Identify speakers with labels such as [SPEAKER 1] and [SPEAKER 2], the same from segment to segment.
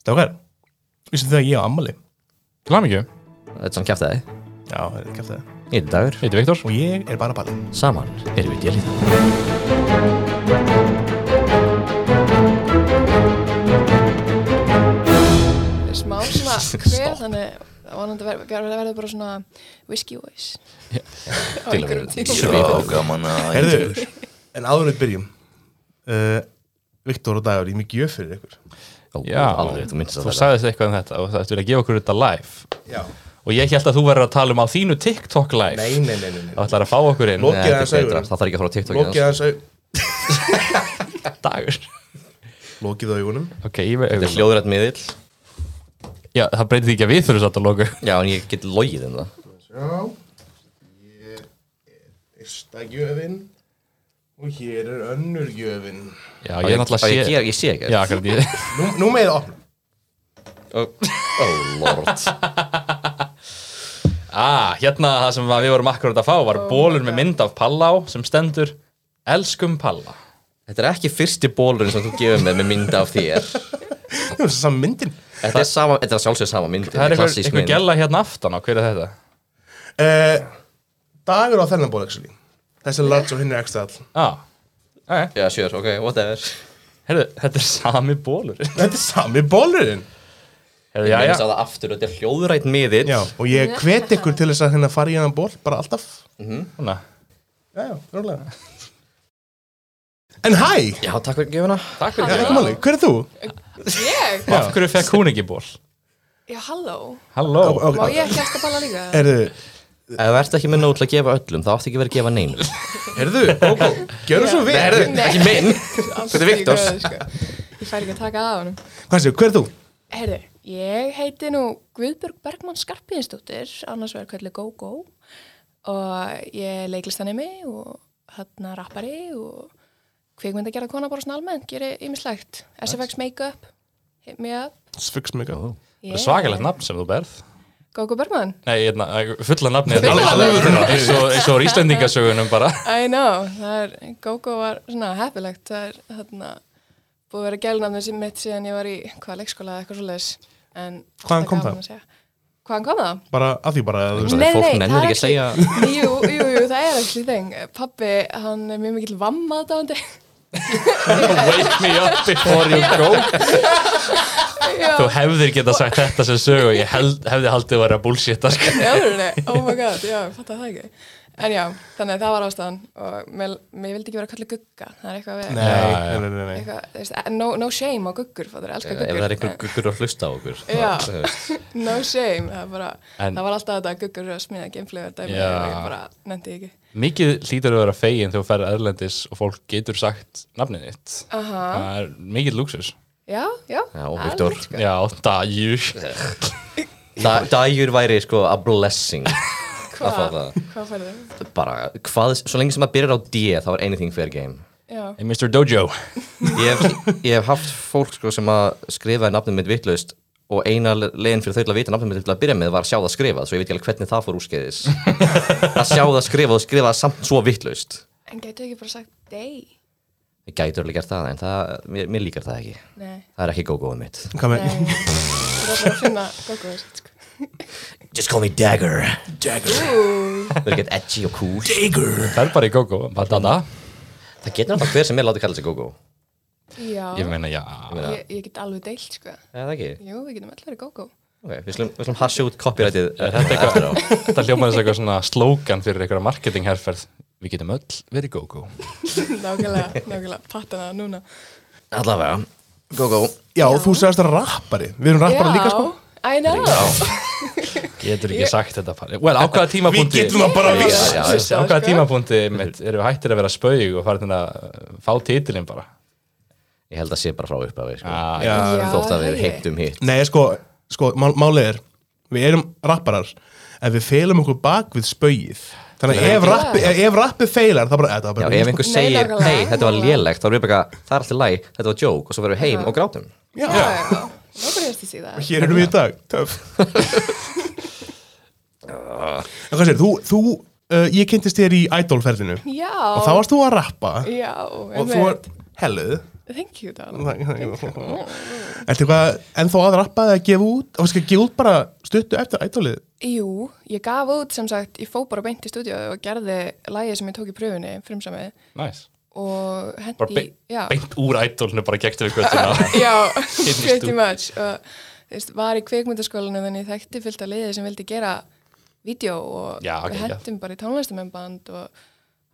[SPEAKER 1] Strákar, vissu þau að ég á ammali?
[SPEAKER 2] Til hann ekki,
[SPEAKER 3] Þetta er svona kæft að þið.
[SPEAKER 1] Já, það er kæft það.
[SPEAKER 3] Ég er dagur.
[SPEAKER 2] ég heiti Viktor
[SPEAKER 1] Og ég er bara balli.
[SPEAKER 3] Saman erum við djælið.
[SPEAKER 4] smá svona hver þannig vonandi verður ver, ver, verður bara svona whisky voice
[SPEAKER 3] til
[SPEAKER 4] á
[SPEAKER 3] að
[SPEAKER 4] einhverjum
[SPEAKER 3] vera-
[SPEAKER 4] tíma
[SPEAKER 1] Sure.
[SPEAKER 5] Svo gaman að
[SPEAKER 1] Herðu, en áður en við byrjum uh, Viktor og Dagur, ég er mikið gjöf fyrir ykkur
[SPEAKER 3] Ó,
[SPEAKER 2] Já,
[SPEAKER 3] alveg, þú minnst að
[SPEAKER 2] þú
[SPEAKER 3] þetta.
[SPEAKER 2] sagðist eitthvað um þetta og þú sagðist vilja gefa okkur þetta live
[SPEAKER 1] Já
[SPEAKER 2] og ég held að þú verður að tala um á þínu TikTok live
[SPEAKER 1] Nei, nei, nei, nei,
[SPEAKER 2] Það
[SPEAKER 1] nei.
[SPEAKER 2] ætlar að fá okkur inn
[SPEAKER 1] Lok-
[SPEAKER 3] Nei,
[SPEAKER 1] Lokið
[SPEAKER 3] þetta
[SPEAKER 1] aðeins
[SPEAKER 3] er
[SPEAKER 1] augun.
[SPEAKER 3] betra. Það þarf ekki að fara á TikTok. í
[SPEAKER 1] Lokið
[SPEAKER 3] það.
[SPEAKER 1] aðeins au
[SPEAKER 2] dagur
[SPEAKER 1] Lokið á augunum
[SPEAKER 2] Ok, ég veit
[SPEAKER 3] Þetta er hljóðrætt miðill.
[SPEAKER 2] Já, það breytir því ekki að við þurfum satt að loka
[SPEAKER 3] Já, en ég get logið um það.
[SPEAKER 1] Já Ég er fyrsta gjöfin Og hér er önnur gjöfin
[SPEAKER 2] Já, ég er náttúrulega sé
[SPEAKER 3] Á, Ég, ég, ég sé ekki.
[SPEAKER 2] Já, akkurat, ég...
[SPEAKER 1] Nú, nú með það opna
[SPEAKER 3] Ó, ó, lord.
[SPEAKER 2] ah, hérna það sem við vorum akkurat að fá var bólur með mynd af Pallá sem stendur Elskum Palla
[SPEAKER 3] Þetta er ekki fyrsti bólurinn sem þú gefur mér með mynd af þér.
[SPEAKER 1] Nú er það saman myndin
[SPEAKER 3] Þetta er, sama, þetta er sjálfsög sama myndin.
[SPEAKER 2] Það er eitthvað,
[SPEAKER 3] klassísk
[SPEAKER 2] eitthvað
[SPEAKER 3] mynd.
[SPEAKER 2] gæla hérna aftan á, hver er þetta?
[SPEAKER 1] uh, Dagur á þennan ból, actually Þessi er large og hinn er ekstra all
[SPEAKER 2] Ah, ok,
[SPEAKER 3] Já, sure, ok, whatever.
[SPEAKER 2] herðu, þetta er sami bólur
[SPEAKER 1] Þetta er sami bólurinn
[SPEAKER 2] Herðu,
[SPEAKER 3] Já,
[SPEAKER 2] já,
[SPEAKER 3] já.
[SPEAKER 2] já,
[SPEAKER 3] Það aftur, þetta er hljóðrætt miðill.
[SPEAKER 1] Já, og ég hvet ykkur til þess að hérna fara í hann ból Bara alltaf
[SPEAKER 2] svona
[SPEAKER 1] Já, já, rólega En hæ,
[SPEAKER 3] Já, takk fyrir gefuna.
[SPEAKER 2] Takk fyrir
[SPEAKER 1] ekki
[SPEAKER 2] þetta
[SPEAKER 1] máli, hver er þú?
[SPEAKER 4] ég,
[SPEAKER 2] Af hverju fekk hún ekki ból?
[SPEAKER 4] já halló
[SPEAKER 2] Halló
[SPEAKER 4] má ég ekki eftir að balla líka
[SPEAKER 1] Erðu,
[SPEAKER 3] Ef þú ert ekki með nót til að gefa öllum, þá áttu ekki verið að gefa neinu.
[SPEAKER 1] erðu, Kókó, gjörðu svo vel
[SPEAKER 4] Nei,
[SPEAKER 3] ekki minn.
[SPEAKER 4] alls
[SPEAKER 3] þetta er
[SPEAKER 4] ekki
[SPEAKER 3] Viktors.
[SPEAKER 4] góð, sko. ég fær ekki að taka að honum
[SPEAKER 1] Hvað séu, hver er þú?
[SPEAKER 4] Herðu, ég heiti nú Guðbjörg Bergmann Skarpiðinsdóttir, annars verður kvöldu GóGó og ég er leiklistanemi og hérna rappari og kvikmynd að gera kona bara svona almennt, gerir ýmislegt. SFX Makeup, Hit Me Up.
[SPEAKER 1] Svöks mig að
[SPEAKER 2] Það er svakalegt nafn sem þú berð
[SPEAKER 4] GóGó Bergmann.
[SPEAKER 2] Nei, hérna, fulla nafni
[SPEAKER 4] Fulla
[SPEAKER 2] nafni Eins og eins og úr Íslendingasögunum bara
[SPEAKER 4] I know, það er, GóGó var svona heppilegt, það er hérna búið að vera gælnafnið sem mitt síðan ég var í hvaða leikskóla eða eitthvað svo leis.
[SPEAKER 1] Hvaðan kom það?
[SPEAKER 4] Hvaðan kom það?
[SPEAKER 1] Bara að því bara að þú
[SPEAKER 4] Nei,
[SPEAKER 3] Fólk
[SPEAKER 4] nei,
[SPEAKER 3] nennir
[SPEAKER 4] það er
[SPEAKER 3] ekki að segja...
[SPEAKER 4] Jú, jú, jú, það er ekki þeng. Pappi, hann er mjög mikill vammaðdándi.
[SPEAKER 2] Wake me up before you go Þú hefðir geta sagt þetta sem sögu Ég held, hefði haldið að vera bullshit sko.
[SPEAKER 4] Já, oh my god, já, ég fattaði það ekki. En já, þannig að það var ástæðan og mér, mér vildi ekki vera að kalla gugga. Það er eitthvað við,
[SPEAKER 1] Nei, nei, nei, nei
[SPEAKER 4] eitthvað, þú veist, no, no shame á guggur, fattur, elska
[SPEAKER 3] Ef
[SPEAKER 4] guggur.
[SPEAKER 3] það er einhver guggur að hlusta á okkur.
[SPEAKER 4] Já.
[SPEAKER 3] þá- þú veist.
[SPEAKER 4] No shame, það, er bara,
[SPEAKER 2] En-
[SPEAKER 4] það var alltaf þetta að guggur eru að smíða geimflöður dæmi
[SPEAKER 2] Já.
[SPEAKER 4] og ég bara nefndi ekki.
[SPEAKER 2] Mikið hlýtur að vera fegin þegar þú ferð erlendis og fólk getur sagt nafnið þitt
[SPEAKER 4] Aha,
[SPEAKER 2] Það er mikið lúksus
[SPEAKER 4] já, já.
[SPEAKER 3] Já, Viktor.
[SPEAKER 4] alveg, sko.
[SPEAKER 2] Já, dæju
[SPEAKER 3] Da- Dagur væri sko a blessing. að fá
[SPEAKER 4] Hvað,
[SPEAKER 3] það.
[SPEAKER 4] hvað færðu þau?
[SPEAKER 3] Bara, hvað, svo lengi sem maður byrjar á D, þá er anything fair game.
[SPEAKER 4] Já,
[SPEAKER 2] Hey Mr. Dojo
[SPEAKER 3] ég hef, ég hef haft fólk sko, sem að skrifaði nafnum mitt vitlaust og eina le- leiðin fyrir þau til að vita nafnum mitt til að byrja með var að sjá það skrifað svo ég veit ekki alveg hvernig það fór úrskeiðis að sjá það skrifað og skrifað samt svo vitlaust
[SPEAKER 4] en gætu ekki bara sagt day?
[SPEAKER 3] ég gætur alveg gert það en það, mér, mér líkar það ekki
[SPEAKER 4] Nei.
[SPEAKER 3] það er ekki gógóið mitt
[SPEAKER 1] Hvað með,
[SPEAKER 4] Nei, það er bara að finna góðgóður sko.
[SPEAKER 3] just call me Dagger
[SPEAKER 4] Ú,
[SPEAKER 3] það er ekkert edgy og cool
[SPEAKER 2] Ferð bara í Gogo Badada
[SPEAKER 3] það getur alltaf hver sem er látið að kalla sig gógó
[SPEAKER 4] Já,
[SPEAKER 2] Ég meina, já
[SPEAKER 4] ég, ég get alveg deilt sko.
[SPEAKER 3] eða það ekki
[SPEAKER 4] Jú, við getum allir verið góðgó
[SPEAKER 3] ok, við slum, við slum hasja út copyrightið eh,
[SPEAKER 2] Er þetta eitthvað Þetta hljómar þess eitthvað svona slókan fyrir eitthvað marketingherferð Við getum öll verið Gogo
[SPEAKER 4] Nákvæmlega, nákvæmlega, pattana það núna
[SPEAKER 3] allavega, gógó
[SPEAKER 1] já, þú segast að rappari Við erum rappari líka, sko
[SPEAKER 4] I know
[SPEAKER 2] Getur ekki sagt þetta bara Well, á hvaða tímapunkti
[SPEAKER 1] það bara
[SPEAKER 4] Já,
[SPEAKER 1] viss
[SPEAKER 3] já,
[SPEAKER 2] Já,
[SPEAKER 4] Sissa,
[SPEAKER 2] á hvaða
[SPEAKER 4] sko.
[SPEAKER 2] tímapunkti mitt, erum við hættir að vera spaug og farin að uh, fá titilin bara
[SPEAKER 3] ég held að sé bara frá uppafi sko.
[SPEAKER 2] ah,
[SPEAKER 1] Já.
[SPEAKER 3] þótt að
[SPEAKER 4] það
[SPEAKER 3] við
[SPEAKER 4] er ég.
[SPEAKER 3] heimtum hitt
[SPEAKER 1] Nei, sko, sko, mál, málið er Við erum rapparar En við feilum okkur bak við spauið Þannig að ef rappi, ef, ef rappi feilar Það bara, það
[SPEAKER 3] Já,
[SPEAKER 1] bara
[SPEAKER 3] ef einhver
[SPEAKER 4] Nei,
[SPEAKER 3] segir,
[SPEAKER 4] nákvæmlega,
[SPEAKER 3] hei, þetta var
[SPEAKER 4] nákvæmlega.
[SPEAKER 3] lélegt, þá erum við bara, eitthvað, það er alltaf læg, þetta var joke, og svo verðum við heim og grátum.
[SPEAKER 1] já,
[SPEAKER 4] Já, já, nokkur hefst í síða
[SPEAKER 1] Hér erum við
[SPEAKER 4] Hérna.
[SPEAKER 1] í dag, töf En hvað sér, þú, þú uh, Ég kynntist þér í Idol-ferðinu
[SPEAKER 4] Já
[SPEAKER 1] Og þá varst þú að rappa
[SPEAKER 4] Já,
[SPEAKER 1] Og þú ert helluð
[SPEAKER 4] Thank you, Dan.
[SPEAKER 1] Ertu eitthvað ennþá að rappa eða gefa út og skal gefa út bara stuttu eftir ædolið
[SPEAKER 4] Jú, ég gaf út sem sagt, ég fó bara beint í stúdíu og gerði lægið sem ég tók í pröfunni, frumsamið
[SPEAKER 2] Nice.
[SPEAKER 4] og
[SPEAKER 2] Bara
[SPEAKER 4] hendi,
[SPEAKER 2] beint,
[SPEAKER 4] já,
[SPEAKER 2] beint úr ædolnu bara gegn við göttuna.
[SPEAKER 4] já,
[SPEAKER 2] í
[SPEAKER 4] pretty
[SPEAKER 2] stúdíu.
[SPEAKER 4] much og þú veist, var í kveikmyndaskólanum en ég þekkti fyllt af liðið sem vildi gera vídeo og
[SPEAKER 2] Já,
[SPEAKER 4] við
[SPEAKER 2] geggjað.
[SPEAKER 4] hendum bara í tónlistamennband og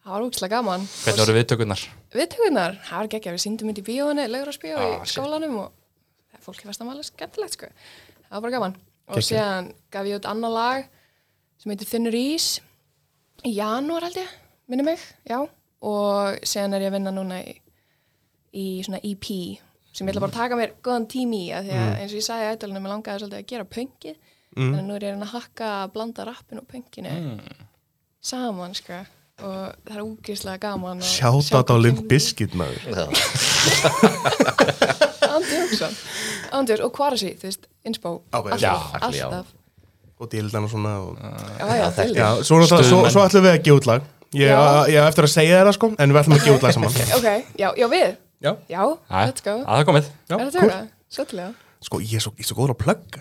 [SPEAKER 4] það var úkslega gaman
[SPEAKER 2] Hvernig voru viðtökurnar?
[SPEAKER 4] viðtökunar, það var geggja, við síndum þetta í bíóinu, laugurarsbíó
[SPEAKER 2] Ah,
[SPEAKER 4] í
[SPEAKER 2] shit.
[SPEAKER 4] skólanum og það fólki fannst það alveg skemmtilegt sko. það var bara gaman og
[SPEAKER 1] Geggjað.
[SPEAKER 4] síðan gaf ég út annað lag sem heitir Þunnur Ís í janúar held ég, minni mig já, og síðan er ég að vinna núna í, í svona EP sem ég ætla bara að taka mér góðan tími í af því að eins og ég sagði í ætlunum, ég langaði svolítið að gera pöngið þannig að nú er ég að reyna að hakka að blanda rappin og pönginu saman sko og það er úkislega gaman að sjá
[SPEAKER 1] Sjáta á
[SPEAKER 4] hvað
[SPEAKER 1] Limp
[SPEAKER 4] kemur.
[SPEAKER 1] Bizkit maður
[SPEAKER 4] Andjóksson Andjóks og Kvarasi, þú veist, Inspo
[SPEAKER 1] Já, já.
[SPEAKER 4] alltaf,
[SPEAKER 2] Já,
[SPEAKER 3] allir, já.
[SPEAKER 4] alltaf.
[SPEAKER 1] og dildana og svona og...
[SPEAKER 4] Já, já,
[SPEAKER 3] Já,
[SPEAKER 4] þau-
[SPEAKER 3] þekkti.
[SPEAKER 1] Já, svo, náttúrulega- svo,
[SPEAKER 2] Stuðmenn.
[SPEAKER 1] svo ætlum við að gefa út lag Ég
[SPEAKER 4] Já.
[SPEAKER 1] ég á eftir að segja þér það sko en við ætlum að gefa út lag saman
[SPEAKER 4] Ok, já, já við
[SPEAKER 1] Já.
[SPEAKER 4] já let's go
[SPEAKER 2] Að það er komið.
[SPEAKER 1] Já,
[SPEAKER 4] Er það
[SPEAKER 1] cool.
[SPEAKER 4] tjóka? Svolítlega
[SPEAKER 1] Sko, ég er svo, ég er svo góður að plugga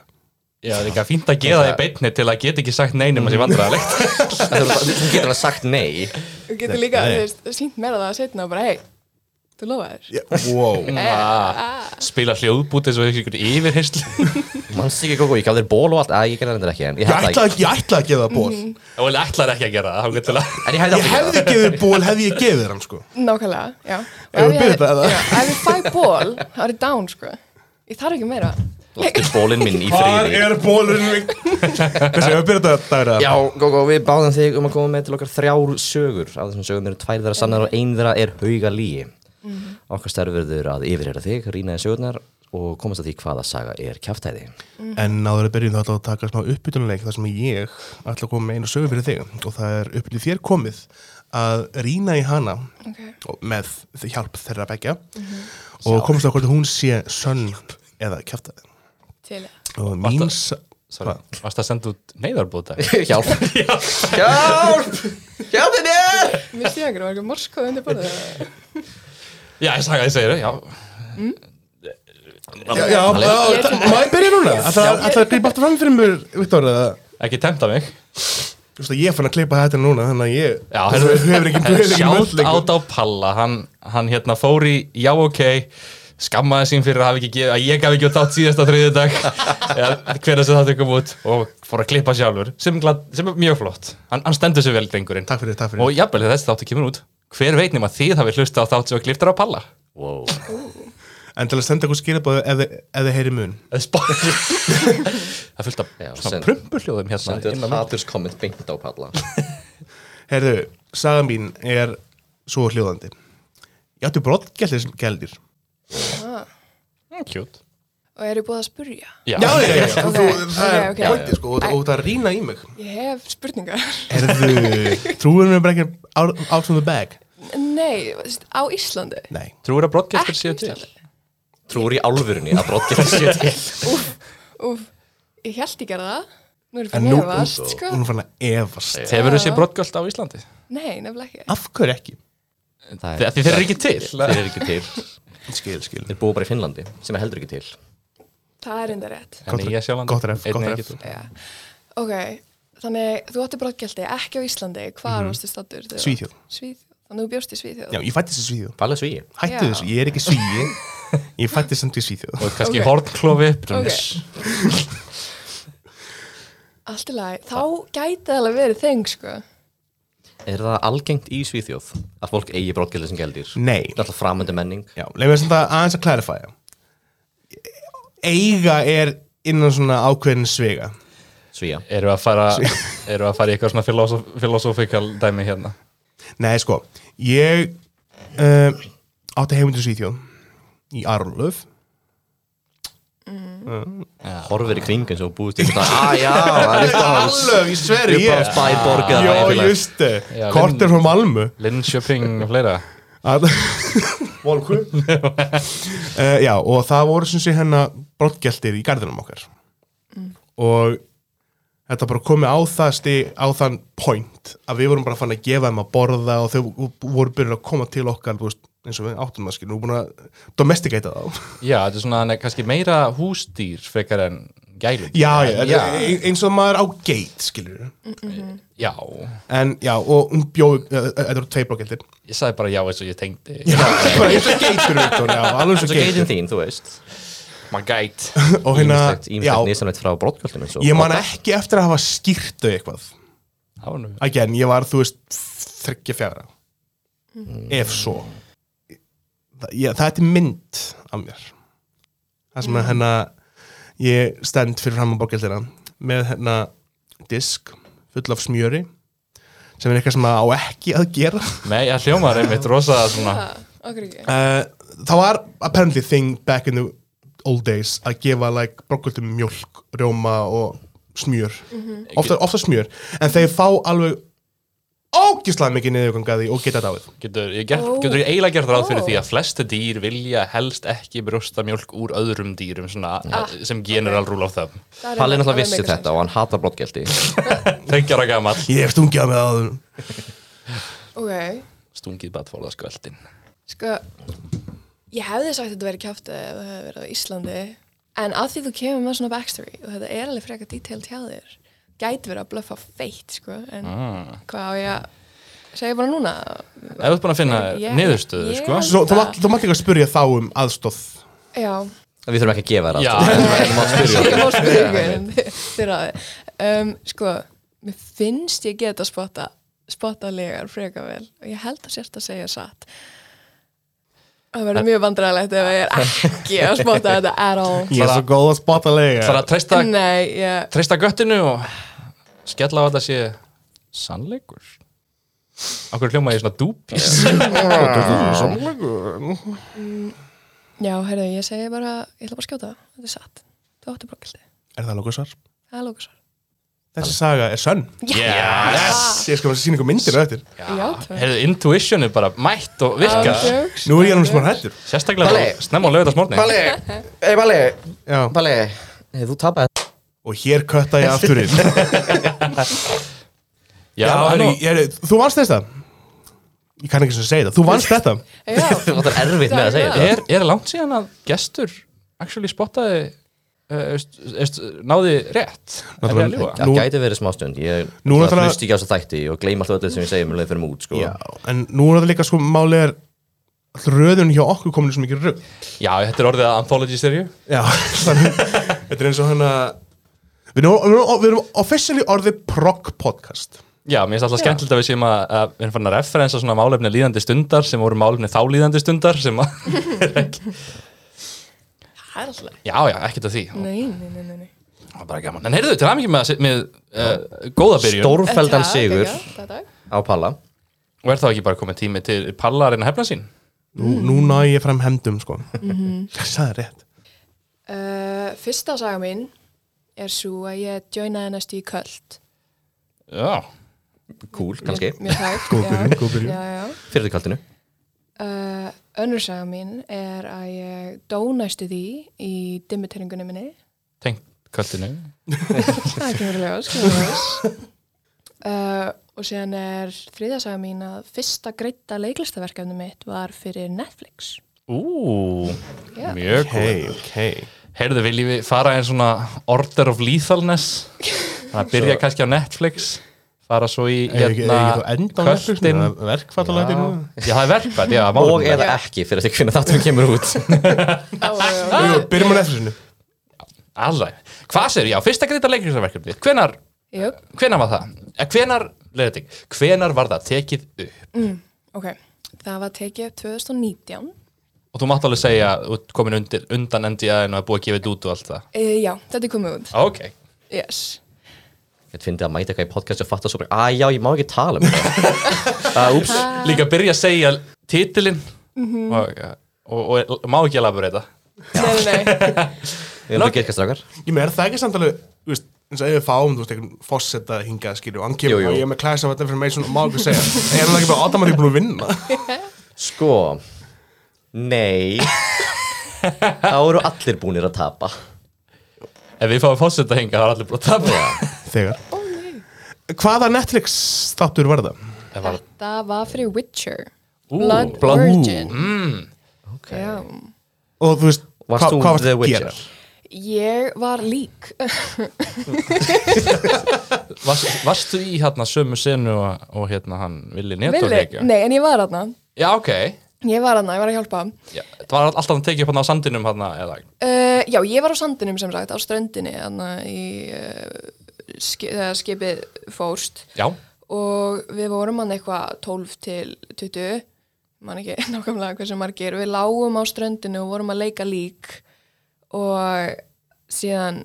[SPEAKER 2] Já, það er líka fínt að geða það í beitni til að geta ekki sagt neinum að
[SPEAKER 1] Mm.
[SPEAKER 2] sé vandræðalegt.
[SPEAKER 3] Þú þú getur alveg sagt nei
[SPEAKER 4] Þú getur líka,
[SPEAKER 1] nei.
[SPEAKER 4] þú veist, sínt mér að það setna og bara, hei, þú lofaðir
[SPEAKER 1] yeah. Wow
[SPEAKER 2] Spila hljóðbúti eins og ykkur yfirheyslu.
[SPEAKER 3] Manst ekki góð, ég gaf þér ból og allt Æ, ég gerði þetta ekki En ég
[SPEAKER 1] Ég
[SPEAKER 3] hefði
[SPEAKER 1] ætla, ég ætla að gefa það ból
[SPEAKER 4] Mhm.
[SPEAKER 2] Og ætlar ekki að gera það, þá getur það.
[SPEAKER 3] En ég hefði
[SPEAKER 1] Ég
[SPEAKER 3] átt að gera
[SPEAKER 1] hefði gefið þér ból, hefði ég gefið þér hann sko
[SPEAKER 4] Nákvæmlega, já
[SPEAKER 1] Eigum við að byrja þetta, eða?
[SPEAKER 4] já, Ef ég fæ ból, það er ég down, sko Ég þarf ekki meira
[SPEAKER 3] það Láttu bólinn minn í friði
[SPEAKER 1] er bólurinn minn? Þessi, við byrjum þetta dagra
[SPEAKER 3] Já, Gógó, við báðum þig um að koma með til okkar þrjár sögur af þessum sögum eru tvær þeirra sannar og ein þeirra er hauga líi Okkar stærður verður að yfirherra þig, rýna í sögurnar og komast að því hvaða saga er kjáftæði
[SPEAKER 1] En áður að byrjum þá ætla að taka smá uppbytunleik þar sem ég ætla að koma með einu sögu fyrir þig og það er uppbytun þér komið að rýna í hana
[SPEAKER 4] Ok.
[SPEAKER 1] og- með þ- hjálp þeirra begja og komast á hvort hún sé sönn eða kjæftæði
[SPEAKER 4] Til
[SPEAKER 1] og mín sa- Hvað?
[SPEAKER 2] Varst það að senda út neyðarbúta?
[SPEAKER 3] Hjálp Hjálp Hjálp þér
[SPEAKER 4] Mér sé ekki, það var ekki morskóð undir borðið eða?
[SPEAKER 2] Já, ég sagði að ég segir það, já.
[SPEAKER 1] Já, já, já, má ég byrja núna? Það ætla að grípa aftur fram fyrir mér Viktor, eða
[SPEAKER 2] Ekki temta mig.
[SPEAKER 1] Þú veist að ég fann að klippa þetta núna þannig að ég
[SPEAKER 2] Já,
[SPEAKER 1] þú hefur ekki um hefur ekki
[SPEAKER 2] Sjátt
[SPEAKER 1] möguleika.
[SPEAKER 2] át á Palla, hann, hann hérna fór í já ok, skammaði sín fyrir að, hafa ekki gef, að ég gaf ekki út þátt síðasta þriðið dag, hvernig sem þáttu kom út og fór að klippa sjálfur, sem, glad, sem er mjög flott. Hann, hann stendur sér vel drengurinn.
[SPEAKER 1] Takk fyrir, takk fyrir
[SPEAKER 2] Og jafnvel þegar þessi þáttu kemur út, hver veit nema þið hafi hlusta á þátt sem að klipta á Palla?
[SPEAKER 3] Wow
[SPEAKER 1] En til að senda eitthvað skilabóðu ef þið- ef þið heyri mun
[SPEAKER 2] Eða spá- Það er fullt af
[SPEAKER 3] Já,
[SPEAKER 2] svona
[SPEAKER 3] send-
[SPEAKER 2] prumpuljóðum hérna. inn á
[SPEAKER 3] Sendið þetta
[SPEAKER 2] milli.
[SPEAKER 3] haturskomment beint á palla
[SPEAKER 1] Herðu, saga mín er svo hljóðandi Ég átti brottgjaldir sem gældir
[SPEAKER 2] Mm, Cute.
[SPEAKER 4] Og eru búið að spurja?
[SPEAKER 2] Já,
[SPEAKER 1] já, já þú-
[SPEAKER 4] Ok,
[SPEAKER 1] þú- Það er
[SPEAKER 4] ok, ok.
[SPEAKER 1] pointi, sko og- og það er að rýna í mig
[SPEAKER 4] Ég hef spurningar
[SPEAKER 1] Herðu, trúin mér bara ekki out, out from the bag
[SPEAKER 4] Nei, þú veist, á Íslandi
[SPEAKER 1] Nei,
[SPEAKER 2] Trúir að broadcaster
[SPEAKER 4] Ekki
[SPEAKER 2] séu
[SPEAKER 4] á
[SPEAKER 2] til?
[SPEAKER 4] Íslandi
[SPEAKER 3] Trúur í álfurunni að brottgjörn sér til
[SPEAKER 4] Úf, ég held ekki að það Nú er ég
[SPEAKER 1] en
[SPEAKER 4] fann
[SPEAKER 1] nú,
[SPEAKER 4] hefast, sko
[SPEAKER 1] hún er fann að efast
[SPEAKER 2] Hefur þessi broadcast á Íslandi?
[SPEAKER 4] Nei, nefnilega ekki
[SPEAKER 1] Af hverju ekki?
[SPEAKER 3] Það
[SPEAKER 2] Þegar þeir eru ekki til.
[SPEAKER 3] Þeir eru ekki til
[SPEAKER 1] Skil, skil
[SPEAKER 3] Þeir búa bara í Finnlandi sem er heldur ekki til
[SPEAKER 4] Það er enda rétt
[SPEAKER 1] Gott-
[SPEAKER 2] Nýja Sjálandi.
[SPEAKER 1] gott ref, gott
[SPEAKER 2] Einnig ekki
[SPEAKER 1] ref.
[SPEAKER 2] til.
[SPEAKER 4] Já. Ok, þannig þú átti brottgjaldi ekki á Íslandi, hvar varstu stattur? þegar-
[SPEAKER 1] Mhm. Svíþjóð.
[SPEAKER 4] Svíþjóð, þannig þú bjóst í Svíþjóð
[SPEAKER 1] Já, ég fættist í Svíðu
[SPEAKER 3] Pallas og ég
[SPEAKER 1] Hættu
[SPEAKER 4] Já.
[SPEAKER 1] þessu, ég er ekki svíði Ég fættist samt í Svíðu
[SPEAKER 2] og kannski
[SPEAKER 4] Ok.
[SPEAKER 2] okay. hornklofi okay.
[SPEAKER 4] Allt í lagi, þá gæti það alveg verið þeng sko
[SPEAKER 3] Er það algengt í Svíþjóð að fólk eigi brottgjörn sem gældir?
[SPEAKER 1] Nei
[SPEAKER 3] Það er alltaf framöndu menning
[SPEAKER 1] Já, leið mér svona aðeins að clarifya Eiga er innan svona ákveðin svega
[SPEAKER 3] Svíja
[SPEAKER 2] eru að fara eru að fara í eitthvað svona filosof, filosofíkal dæmi hérna
[SPEAKER 1] Nei, sko, ég uh, átti heimundur Svíþjóð í Arlöf
[SPEAKER 3] Horfir í kring eins og búist í þetta
[SPEAKER 1] Ah,
[SPEAKER 3] Æ, já, það er uppáhalds
[SPEAKER 1] Arlöf, ég sveri, ég
[SPEAKER 3] Uppáhalds bæborg eða
[SPEAKER 1] Jó,
[SPEAKER 3] bæfélag.
[SPEAKER 1] just uh,
[SPEAKER 2] Já,
[SPEAKER 1] Kortir frá Malmö
[SPEAKER 2] Linköping og fleira
[SPEAKER 1] Volku uh, Já, og það voru sem sé hennar brottgjaldir í gardinum okkar Mm. og þetta bara komið á það stig, á þann point að við vorum bara fann að gefa þeim að borða og þau voru byrjun að koma til okkar þú veist, eins og við áttum það skil, nú er búin að domesticata þá
[SPEAKER 2] Já, þetta er svona ne, kannski meira húsdýr frekar en gælum
[SPEAKER 1] já, já, já.
[SPEAKER 2] já,
[SPEAKER 1] e, eins og maður á geit skilur
[SPEAKER 2] já.
[SPEAKER 1] en já, og hún bjóð þetta eru tvei blokkeldir
[SPEAKER 2] Ég sagði bara já eins og ég tengdi
[SPEAKER 1] bara eins og geitur Viktor, já, alveg eins
[SPEAKER 3] Svo
[SPEAKER 1] og
[SPEAKER 3] geitin
[SPEAKER 1] geitur
[SPEAKER 3] þín, þú veist
[SPEAKER 2] Maður gæt
[SPEAKER 1] og hérna,
[SPEAKER 3] Ímislegt,
[SPEAKER 1] já,
[SPEAKER 3] ímislegt nýstamætt frá brotkvöldum eins og
[SPEAKER 1] ég man ekki eftir að hafa skýrt þau eitthvað
[SPEAKER 2] Það var nú
[SPEAKER 1] again, ég var, þú veist, þryggja fjara ef svo Þa, ég, það er mynd af mér það sem að hérna ég stend fyrir fram á bókjaldina með hérna disk full af smjöri sem er eitthvað sem að á ekki að gera
[SPEAKER 2] Nei, það hljómar einmitt rosa svona
[SPEAKER 4] Ha, Ah, okkur ekki.
[SPEAKER 1] uh, það var apparently thing back in the old days að gefa like brokkvöldum mjólk, rjóma og smjör ofta, ofta smjör en þeir fá alveg ógislega mikið niðurgangaði og geta dáið
[SPEAKER 2] Getur ég, gert,
[SPEAKER 4] Ó.
[SPEAKER 2] getur ég eiginlega gert ráð fyrir
[SPEAKER 4] Ó.
[SPEAKER 2] því að flesta dýr vilja helst ekki brjósta mjólk úr öðrum dýrum svona,
[SPEAKER 4] Ah.
[SPEAKER 2] sem general rule of thumb
[SPEAKER 4] Það er
[SPEAKER 3] Palli
[SPEAKER 4] alveg-
[SPEAKER 3] náttúrulega
[SPEAKER 4] alveg
[SPEAKER 3] vissi
[SPEAKER 4] mega
[SPEAKER 3] þetta og hann hatar brotkvöldi
[SPEAKER 2] Þrengjara gamall
[SPEAKER 1] ég hef stungjað með áður
[SPEAKER 4] sens. Ok,
[SPEAKER 2] Stungið batfóla skvöldin
[SPEAKER 4] sko, ég hefði sagt að þetta verið kjáftið ef það hefði verið á Íslandi, en að því þú kemur með svona backstory og þetta er alveg frekar detailed hjá þér, gæti verið að blöffa feitt, sko, en hvað á ég að segja bara núna?
[SPEAKER 2] Ef þú ert búin að finna
[SPEAKER 4] Ég-
[SPEAKER 2] niðurstöðu,
[SPEAKER 4] ég-
[SPEAKER 2] sko
[SPEAKER 1] Svo, þú mátt- þú mátt ekki að spurja þá um aðstóð
[SPEAKER 4] Já,
[SPEAKER 3] Við þurfum ekki að gefa
[SPEAKER 2] Já,
[SPEAKER 3] þér allt.
[SPEAKER 4] ég má spyrja en þér að þið. Um, sko, mér finnst ég geta spotta, spotta legar frekar vel og ég held að sérst að segja satt. Það verður mjög vandræðilegt ef ég er ekki að spotta þetta at all.
[SPEAKER 1] ég er svo góð að spotta
[SPEAKER 2] Það er
[SPEAKER 1] lega
[SPEAKER 2] að treysta,
[SPEAKER 4] Nei, ég,
[SPEAKER 2] treysta göttinu og skella á að þetta sé sannleikur Akkur hljóma ég svona dúp
[SPEAKER 4] já, heyrðu, ég segi bara, ég ætla bara að skjóta það, þetta er satt. Þú áttu brókildi,
[SPEAKER 1] er það lókusar?
[SPEAKER 4] það er lókusvar.
[SPEAKER 1] þessi saga er sönn
[SPEAKER 2] Yes
[SPEAKER 1] ég skal maður sína ykkur myndir á eftir
[SPEAKER 4] Já, það
[SPEAKER 2] Heyrðu, intuitionu bara mætt og virka
[SPEAKER 1] nú er ég alveg smá hættur
[SPEAKER 2] Sérstaklega
[SPEAKER 3] Palli.
[SPEAKER 2] bara snemma á lögutasmórni
[SPEAKER 3] Palli, ei Palli
[SPEAKER 1] Já.
[SPEAKER 3] Palli, hey, þú tapaði
[SPEAKER 1] og hér kötta ég aftur inn
[SPEAKER 2] Já,
[SPEAKER 1] Já,
[SPEAKER 2] það er
[SPEAKER 1] herri,
[SPEAKER 2] nú
[SPEAKER 1] ég, þú vannst þetta Ég kann ekki sem að segja það, þú vannst þetta
[SPEAKER 3] Þú
[SPEAKER 4] Já,
[SPEAKER 3] áttar erfitt með að segja þetta
[SPEAKER 2] er, er langt síðan að gestur actually spottaði uh, veist- veist, náði rétt Er ég að ljúga?
[SPEAKER 1] Nú-
[SPEAKER 3] Það gæti verið smá stund Ég
[SPEAKER 1] Nú
[SPEAKER 3] náttúrulega
[SPEAKER 1] náttúrulega-
[SPEAKER 3] hlusti ekki á þessu þætti og gleym alltaf öllu sem ég segi um leið fyrir mút sko.
[SPEAKER 1] Já, en nú er það líka sko málið er all röðun hjá okkur komin sem ekki rögg
[SPEAKER 2] Já, þetta er orðið að anthology serju
[SPEAKER 1] Já, þannig Þetta er eins og hann að Við erum, við erum, við erum officially orðið prog podcast
[SPEAKER 2] Já, mér finnst alltaf skemmtilegt að við séum að, að við erum fann að referensa svona málefni líðandi stundar sem voru málefni þá líðandi stundar sem að,
[SPEAKER 4] það er alltaf.
[SPEAKER 2] já, já, ekkert að því og
[SPEAKER 4] Nei, nei, nei, nei, nei.
[SPEAKER 2] það var bara gaman, en heyrðu, til aðmikið með, með uh, góða byrjun
[SPEAKER 3] Stórfeldan
[SPEAKER 4] Takk,
[SPEAKER 3] sigur
[SPEAKER 4] já, takk, takk.
[SPEAKER 3] á Palla
[SPEAKER 2] og er þá ekki bara komið tími til Palla að reyna að hefna sín
[SPEAKER 1] Nú, nú ná ég fram hemdum sko Ég sagði rétt
[SPEAKER 4] Uh, fyrsta saga mín er svo að ég joinaði næstu í köld.
[SPEAKER 2] Já,
[SPEAKER 3] Cool, kannski,
[SPEAKER 4] Mér, mér hægt,
[SPEAKER 1] Góð byrjun,
[SPEAKER 4] já.
[SPEAKER 1] góð byrjun.
[SPEAKER 4] Já, já.
[SPEAKER 3] fyrir kaldinu
[SPEAKER 4] Uh, önnur saga mín er að ég dó næstu því í dimmiteringunni minni.
[SPEAKER 2] tengt kvöldinu
[SPEAKER 4] Það kemur í ljós, kemur í ljós. sko. Uh, og síðan er þriðja saga mín að fyrsta greita leiklistaverkefni mitt var fyrir Netflix.
[SPEAKER 2] Ú,
[SPEAKER 4] Já.
[SPEAKER 2] mjög góð
[SPEAKER 1] Hey, ok
[SPEAKER 2] Heyrðu, viljum við fara einn svona Order of Lethalness Þannig að byrja kannski á Netflix fara svo í
[SPEAKER 1] Er ekki, er
[SPEAKER 2] hérna
[SPEAKER 1] ekki þú enda á Netflix?
[SPEAKER 2] Köttin.
[SPEAKER 1] Verkfallalæti nú?
[SPEAKER 2] Já, það er verkvært, já,
[SPEAKER 3] Og
[SPEAKER 2] málum
[SPEAKER 3] eða ekki fyrir því hvernig þáttum kemur út
[SPEAKER 4] Ó,
[SPEAKER 2] Ah!
[SPEAKER 1] Jú, Byrjum á Netflixinu
[SPEAKER 2] Alveg, hvað sér, já, fyrsta greita leikringsverkefni Hvenar,
[SPEAKER 4] Jú,
[SPEAKER 2] hvenar var það? Eh, Hvenar, leiðið þig, hvenar var það tekið upp?
[SPEAKER 4] ok. Það var tekið upp 2019.
[SPEAKER 2] Og þú mátt alveg segja, þú ert komin undir, undan NDA-in og er búið að gefa þetta út og allt það
[SPEAKER 4] Uh, já, þetta er komið út.
[SPEAKER 2] Ok,
[SPEAKER 4] Yes.
[SPEAKER 3] Ég finnst að mæta eitthvað í podcast og fatta svo bara Æ, já, ég má ekki tala um þetta Það, úps
[SPEAKER 2] líka byrja að segja titilinn
[SPEAKER 1] Mhm.
[SPEAKER 2] og, og, og, og má ekki alveg breyta
[SPEAKER 4] Nei, nei, nei.
[SPEAKER 3] Við erum það að gerkast dragar
[SPEAKER 1] Ég með er það ekki samt alveg þú veist, eins og ef við fáum, þú veist, einhvern fossetta hingað skilju og hann kemur
[SPEAKER 3] Jú, jú.
[SPEAKER 1] og ég er með class of information og má ekki segja er hann ekki bara automatík búin að vinna
[SPEAKER 3] Sko Nei Þá eru allir búnir að tapa
[SPEAKER 2] Ef við fáum fósetta hinga, það er allir búin að tapa
[SPEAKER 1] þegar Hvaða Netflix þáttur var það?
[SPEAKER 2] Það var
[SPEAKER 4] Það var fyrir Witcher Blood
[SPEAKER 1] Blood-
[SPEAKER 4] Virgin
[SPEAKER 2] mm.
[SPEAKER 3] okay.
[SPEAKER 4] Já.
[SPEAKER 1] og þú veist, hva,
[SPEAKER 3] Varst þú
[SPEAKER 1] hvað varst
[SPEAKER 3] The
[SPEAKER 1] að
[SPEAKER 3] Witcher?
[SPEAKER 1] gera
[SPEAKER 4] Ég var lík
[SPEAKER 2] Varst, varstu í hérna sömu senu og, og hérna hann Vili Netor
[SPEAKER 4] Villi-
[SPEAKER 2] leikja?
[SPEAKER 4] Nei, en ég var þarna
[SPEAKER 2] Já, ok.
[SPEAKER 4] Ég var þarna, ég var að hjálpa
[SPEAKER 2] Já, það var alltaf hann tekið upp hann á sandinum hérna eða
[SPEAKER 4] uh, Já, ég var á sandinum sem sagt, á ströndinni Þannig í uh, ski, þegar skipið fórst
[SPEAKER 2] Já,
[SPEAKER 4] og við vorum hann eitthvað 12 til 20 man ekki nákvæmlega hversu margir við lágum á ströndinu og vorum að leika lík og síðan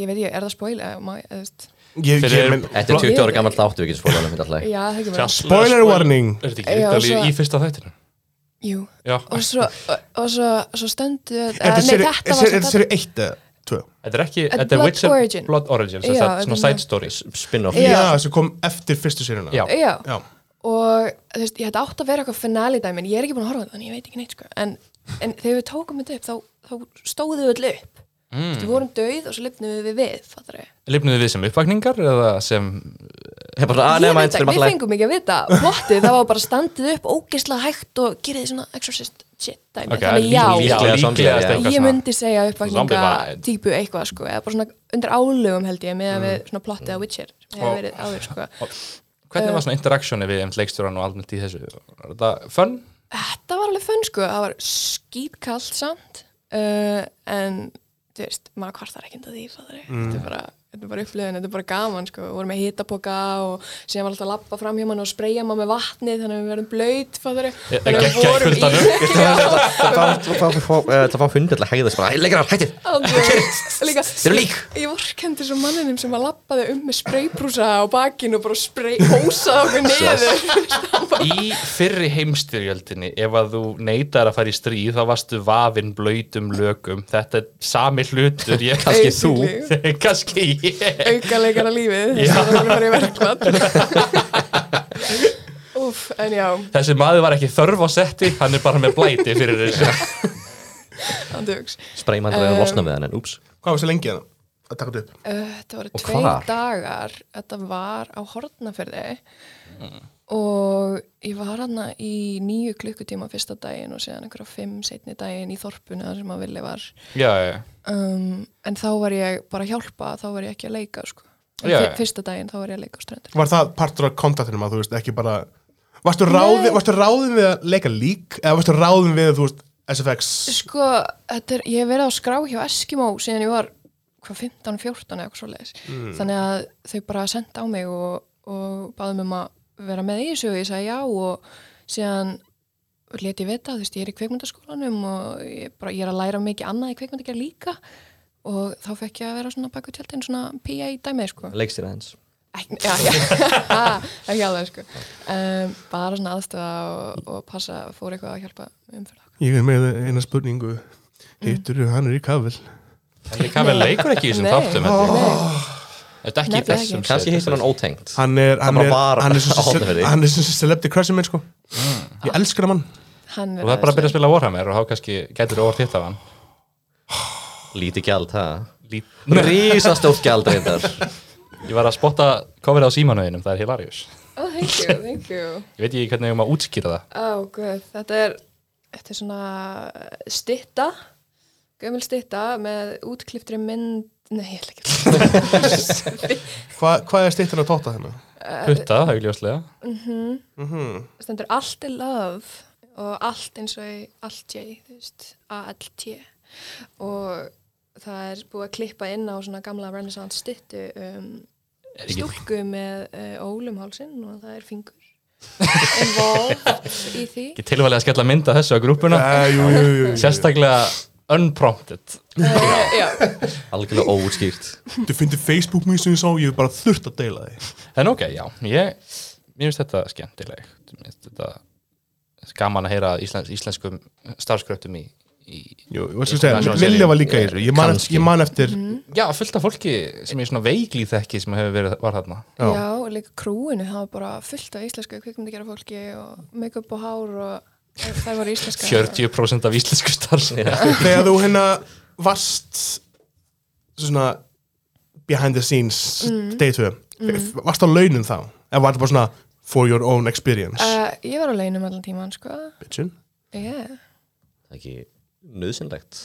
[SPEAKER 4] ég veit ég, er það spoil eða má ég, þú veist
[SPEAKER 1] ég, ég,
[SPEAKER 2] Fyrir-
[SPEAKER 1] menn,
[SPEAKER 3] Þetta er 20 ára gammal þáttu við getum spólað um þetta alltaf
[SPEAKER 4] já, það ekki
[SPEAKER 2] Já,
[SPEAKER 4] mér,
[SPEAKER 1] Spoiler warning.
[SPEAKER 2] Er þetta
[SPEAKER 4] Já,
[SPEAKER 2] ekki Ítali
[SPEAKER 4] svo-
[SPEAKER 2] í fyrsta þættinu?
[SPEAKER 4] jú
[SPEAKER 2] Já,
[SPEAKER 4] og svo, og, og svo, svo stöndu eða,
[SPEAKER 1] er
[SPEAKER 4] Eh, nei,
[SPEAKER 1] þetta
[SPEAKER 4] þetta var sem
[SPEAKER 1] sér eitt eða tvö
[SPEAKER 2] þetta er ekki,
[SPEAKER 4] Þetta er
[SPEAKER 2] þetta er
[SPEAKER 4] Blood
[SPEAKER 2] Witcher
[SPEAKER 4] Origin.
[SPEAKER 2] Blood Origin, sem
[SPEAKER 4] Já,
[SPEAKER 2] sagt, svona
[SPEAKER 4] þetta er-
[SPEAKER 2] side stories
[SPEAKER 3] Spin-off
[SPEAKER 4] Já.
[SPEAKER 1] já, sem kom eftir fyrstu séruna
[SPEAKER 2] Já.
[SPEAKER 4] já,
[SPEAKER 1] já.
[SPEAKER 4] og þú veist, ég hætti átt að vera eitthvað finale dæmi en ég er ekki búin að horfa á þetta, þannig ég veit ekki neitt sko. en, en þegar við tókum þetta upp þá, þá stóðum við öll upp mm. við vorum döið og svo lifnum við við fattari.
[SPEAKER 2] Lifnuðu við sem uppvakningar eða sem
[SPEAKER 3] Ég
[SPEAKER 2] Ah,
[SPEAKER 3] bara, "Ah, að
[SPEAKER 4] Ég
[SPEAKER 3] nefna
[SPEAKER 4] veit
[SPEAKER 3] eins fyrir
[SPEAKER 4] ekki, við
[SPEAKER 3] alltaf
[SPEAKER 4] fengum ekki að vita plottið, það var bara standið upp ógeðslega hægt og gerðið svona exorcist shit dæmi,
[SPEAKER 2] Ok,
[SPEAKER 4] þannig
[SPEAKER 2] líklega-
[SPEAKER 4] já, sko,
[SPEAKER 3] líklega zombie, já.
[SPEAKER 2] líklegast eitthvað
[SPEAKER 4] ég
[SPEAKER 2] svona.
[SPEAKER 4] myndi segja
[SPEAKER 2] Zombie
[SPEAKER 4] uppvakninga
[SPEAKER 2] var-
[SPEAKER 4] típu eitthvað sko, eða bara svona undir álugum held ég með að
[SPEAKER 2] Mm.
[SPEAKER 4] við svona plottið á Witcher sem hefur verið áður sko
[SPEAKER 2] Hvernig
[SPEAKER 4] uh,
[SPEAKER 2] var svona interactioni við einmitt leikstjóran og almennt í þessu? Er þetta fun?
[SPEAKER 4] Þetta var alveg fönn sko, það var skítkallt samt uh, en þú veist, maður kvartar ekki undan því fattari. þetta er bara, þetta er bara upplifun, þetta er bara gaman sko, við vorum með hitapoka og síðan var alltaf að lappa fram hjá mann og spreyja maður með vatnið þannig að við verðum blöyt fattari.
[SPEAKER 2] Ég- gegn- gegn kuldanum.
[SPEAKER 3] eh, Það fá hundi alltaf hegðast bara, leikrar, hættið
[SPEAKER 4] Líka,
[SPEAKER 3] Þeir eru lík.
[SPEAKER 4] Ég vorkendi svo manninum sem að lappaði um með spreybrúsa á bakinu og bara sprey, hósaði okkur niður
[SPEAKER 2] Í fyrri heimstyrjöldinni ef að þú neytar að fara í stríð þá varstu vafinn blöytum lökum þetta er sami hlutur ég
[SPEAKER 3] Kannski þú.
[SPEAKER 2] kannski ég
[SPEAKER 4] aukaleikara lífið þess að það voru verið verkland Úf, en já,
[SPEAKER 2] Þessi maður var ekki þörf á setti hann er bara með blæti fyrir þessu
[SPEAKER 4] hann dugs
[SPEAKER 3] Spreyman til að losna með hann, en úps
[SPEAKER 1] hvað var svo lengi það að taka þetta upp
[SPEAKER 4] Eh, Þetta voru
[SPEAKER 3] Og
[SPEAKER 4] tveir
[SPEAKER 3] hvar?
[SPEAKER 4] dagar Þetta var á Hortnafjörði og ég var hana í nýju klukkutíma fyrsta daginn og síðan einhverja fimm setni daginn í þorpuna þar sem að villi var
[SPEAKER 2] Já, já, já.
[SPEAKER 4] um, en þá var ég bara að hjálpa þá var ég ekki að leika sko. En
[SPEAKER 2] Já,
[SPEAKER 4] fyr-
[SPEAKER 2] já.
[SPEAKER 4] fyrsta daginn þá var ég að leika á ströndin
[SPEAKER 1] var það partur af kontaktinum að þú veist ekki bara varstu ráðin, varstu ráðin við að leika lík eða varstu ráðin við þú veist SFX
[SPEAKER 4] Sko, þetta er, ég hef verið á skrá hjá Eskimo síðan ég var hvað 15, 14 eða eitthvað svoleiðis
[SPEAKER 2] Mm.
[SPEAKER 4] þannig að þau bara senda á mig og, og báðum um að vera með í þessu og ég sagði já og síðan let ég vita, þú veist, ég er í kveikmyndaskólanum og ég, bara, ég er að læra mikið annað í kveikmyndagerð líka og þá fekk ég að vera svona baku tjöldin svona PA í dæmið, sko
[SPEAKER 3] Leikstýra hans
[SPEAKER 4] Ekki- já, já, Ha, ekki alveg, sko um, bara svona aðstöða og, og passa, fór eitthvað að hjálpa umfyrir okkar
[SPEAKER 1] ég er með eina spurningu hittur mm. hann er í kafel
[SPEAKER 2] Henry Cavill leikur ekki í þessum
[SPEAKER 4] Nei.
[SPEAKER 2] þáttum held ég. Þetta er ekki í
[SPEAKER 4] Nefnilega
[SPEAKER 2] þessum
[SPEAKER 4] ekki.
[SPEAKER 3] Kannski
[SPEAKER 2] set,
[SPEAKER 3] heitir hann
[SPEAKER 2] þetta
[SPEAKER 3] ótengt
[SPEAKER 1] hann er hann
[SPEAKER 3] bara
[SPEAKER 1] er,
[SPEAKER 3] var
[SPEAKER 1] hann er
[SPEAKER 3] á Hornafirði.
[SPEAKER 1] sem hann er sem celebrity crushin minn sko ég elskar hann mann
[SPEAKER 4] Hann
[SPEAKER 2] er-
[SPEAKER 4] verður
[SPEAKER 2] Þú þarf bara að
[SPEAKER 4] æðislegur.
[SPEAKER 2] byrja að spila Warhammer og þá kannski getur þú orð hitt af hann
[SPEAKER 3] Lítið gjald, ha?
[SPEAKER 2] Lít-
[SPEAKER 3] Rísastórt gjald, reyndar
[SPEAKER 2] Ég var að spotta coverið á símanauðinum, það er hilarious
[SPEAKER 4] Oh, thank you, thank you.
[SPEAKER 2] Ég veit ekki hvernig ég maður útskýra það
[SPEAKER 4] Oh, guð, þetta er, þetta er svona stitta, gömul stitta með útkliftri mynd, nei, ég ætla ekki að um
[SPEAKER 1] hvað hva er stýttan að tóta hennar
[SPEAKER 2] Hutta, augljóslega
[SPEAKER 4] stendur allt er love og allt eins og í allt ég, þú veist, A-L-T og það er búið að klippa inn á svona gamla renaissance stittu um,
[SPEAKER 2] ekki-
[SPEAKER 4] stúlku með uh, ólum hálsinn og það er fingur involved í því
[SPEAKER 2] Ekki tilvalið að skella mynda þessu á grúpuna
[SPEAKER 1] Eh, jú, jú, jú, jú.
[SPEAKER 2] Sérstaklega unprompted
[SPEAKER 4] uh, já,
[SPEAKER 3] Algjörlega óútskýrt
[SPEAKER 1] Þú finnir Facebook mér sem ég sá, ég hef bara þurft að deila þig.
[SPEAKER 2] En ok, já, ég Mér finnst þetta skemmtileg Mér finnst þetta gaman að heyra íslens, íslenskum starfskröptum í, í
[SPEAKER 1] Jú, ég var sem
[SPEAKER 2] Það er
[SPEAKER 1] segja, Mm.
[SPEAKER 2] svona
[SPEAKER 1] Lilja
[SPEAKER 2] seríu.
[SPEAKER 1] var líka í þessu. Ég man,
[SPEAKER 3] Kannski.
[SPEAKER 1] ég man eftir,
[SPEAKER 2] Já, fullt af fólki sem er svona veikli þekki sem hefur verið var þarna
[SPEAKER 1] Já.
[SPEAKER 4] Já, og líka krúinu, það var bara fullt af íslensku kvikmyndagjara fólki og make-up og hár og það voru íslenska
[SPEAKER 2] 40% af íslensku starfskröptum
[SPEAKER 1] þegar þú hérna varst svona Mm. behind the scenes day 2, varst á launum þá? Eða var þetta bara svona for your own experience
[SPEAKER 4] Uh, ég var á leinum allan tíman, sko.
[SPEAKER 1] bitchin,
[SPEAKER 4] Yeah.
[SPEAKER 3] Það er ekki nöðsynlegt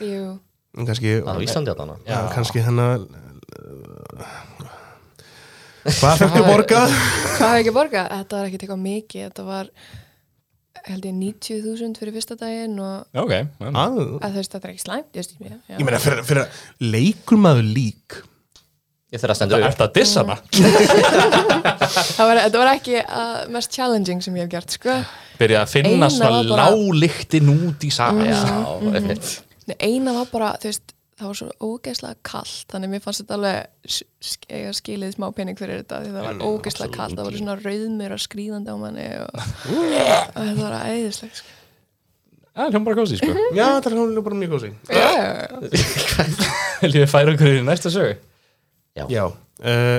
[SPEAKER 4] Jú.
[SPEAKER 1] En kannski
[SPEAKER 3] að á Íslandi að þarna
[SPEAKER 1] Já, kannski hérna, hennar Hvað fættu borga?
[SPEAKER 4] Hvað hef ég ekki borgað? Þetta var ekkert eitthvað mikið. Þetta var, held ég, 90.000 fyrir fyrsta daginn og
[SPEAKER 2] Já, ok, já.
[SPEAKER 1] Að,
[SPEAKER 4] að þú veist, þetta er ekki slæmt, ég veist ég mér. Já.
[SPEAKER 1] ég meina, fyrir, fyrir að leikur maður lík
[SPEAKER 3] Ég þeirra stendur upp
[SPEAKER 2] Ertu að dissa hana?
[SPEAKER 4] Það var, þetta var ekki uh, mest challenging sem ég hef gert, sko.
[SPEAKER 2] Byrja að finna
[SPEAKER 4] Eina Mm.
[SPEAKER 2] svona
[SPEAKER 4] var bara-
[SPEAKER 2] láglyktin út í sami
[SPEAKER 3] Já, einmitt
[SPEAKER 4] Nei, eina var bara, þú veist, það var svo ógeðslega kallt, þannig mér fannst þetta alveg s- sk- eiga skilið smá pening fyrir þetta því það var
[SPEAKER 2] Mm,
[SPEAKER 4] ógeðslega kallt, það var svona rauðmur og skrýðandi á manni og, og það var æðislegt sko.
[SPEAKER 2] Það er hljóma bara kósi, sko
[SPEAKER 1] Já, það er hún bara mjög góð sig
[SPEAKER 4] Já, já, já.
[SPEAKER 2] Viljum við færa okkur í næsta sögu?
[SPEAKER 1] Já uh,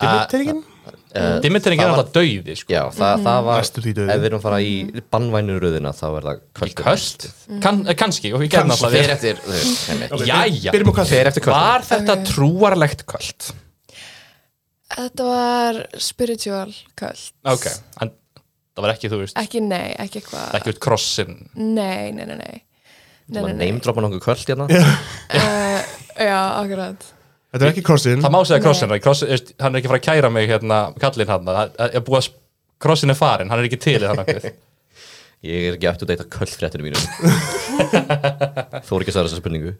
[SPEAKER 1] Dimmitringin?
[SPEAKER 2] Dimitri er
[SPEAKER 3] það
[SPEAKER 2] ekki
[SPEAKER 3] var-
[SPEAKER 2] alltaf dauði, sko
[SPEAKER 3] Já, það,
[SPEAKER 4] Mhm.
[SPEAKER 3] það var
[SPEAKER 1] Næstum því dauði.
[SPEAKER 3] Ef við erum að fara í bannvænu röðina þá er það kvöld
[SPEAKER 2] Köst?
[SPEAKER 4] Mm.
[SPEAKER 2] Kann, eh, kannski, og ég gerði
[SPEAKER 1] Kannski.
[SPEAKER 2] alltaf
[SPEAKER 3] Fyrir
[SPEAKER 2] þér
[SPEAKER 3] eftir, þú veist, einmitt.
[SPEAKER 2] Jæja,
[SPEAKER 1] Byrjum á kaffi.
[SPEAKER 3] Fer eftir kvöld
[SPEAKER 2] var þetta trúarlegt kvöld?
[SPEAKER 4] Þetta var spiritual kvöld
[SPEAKER 2] Ok, en það var ekki, þú veist,
[SPEAKER 4] Ekki nei, ekki eitthvað
[SPEAKER 2] ekki út krossin
[SPEAKER 4] Nei, nei, nei, nei Nei,
[SPEAKER 3] Það var
[SPEAKER 4] nei, nei,
[SPEAKER 3] neymdropa nokkuð kvöld hérna
[SPEAKER 4] uh, já, akkurat
[SPEAKER 1] Þetta er ekki
[SPEAKER 3] Mm.
[SPEAKER 1] krossin
[SPEAKER 2] Það má segja krossin, það er krossin, veist, hann er ekki að fara að kæra mig hérna, kallinn hann, það það er búið að sp- krossin er farin, hann er ekki til í þannig að
[SPEAKER 3] Ég er ekki aftur að deyta kvöldfréttinu mínu Þú er ekki að svara þessa spurningu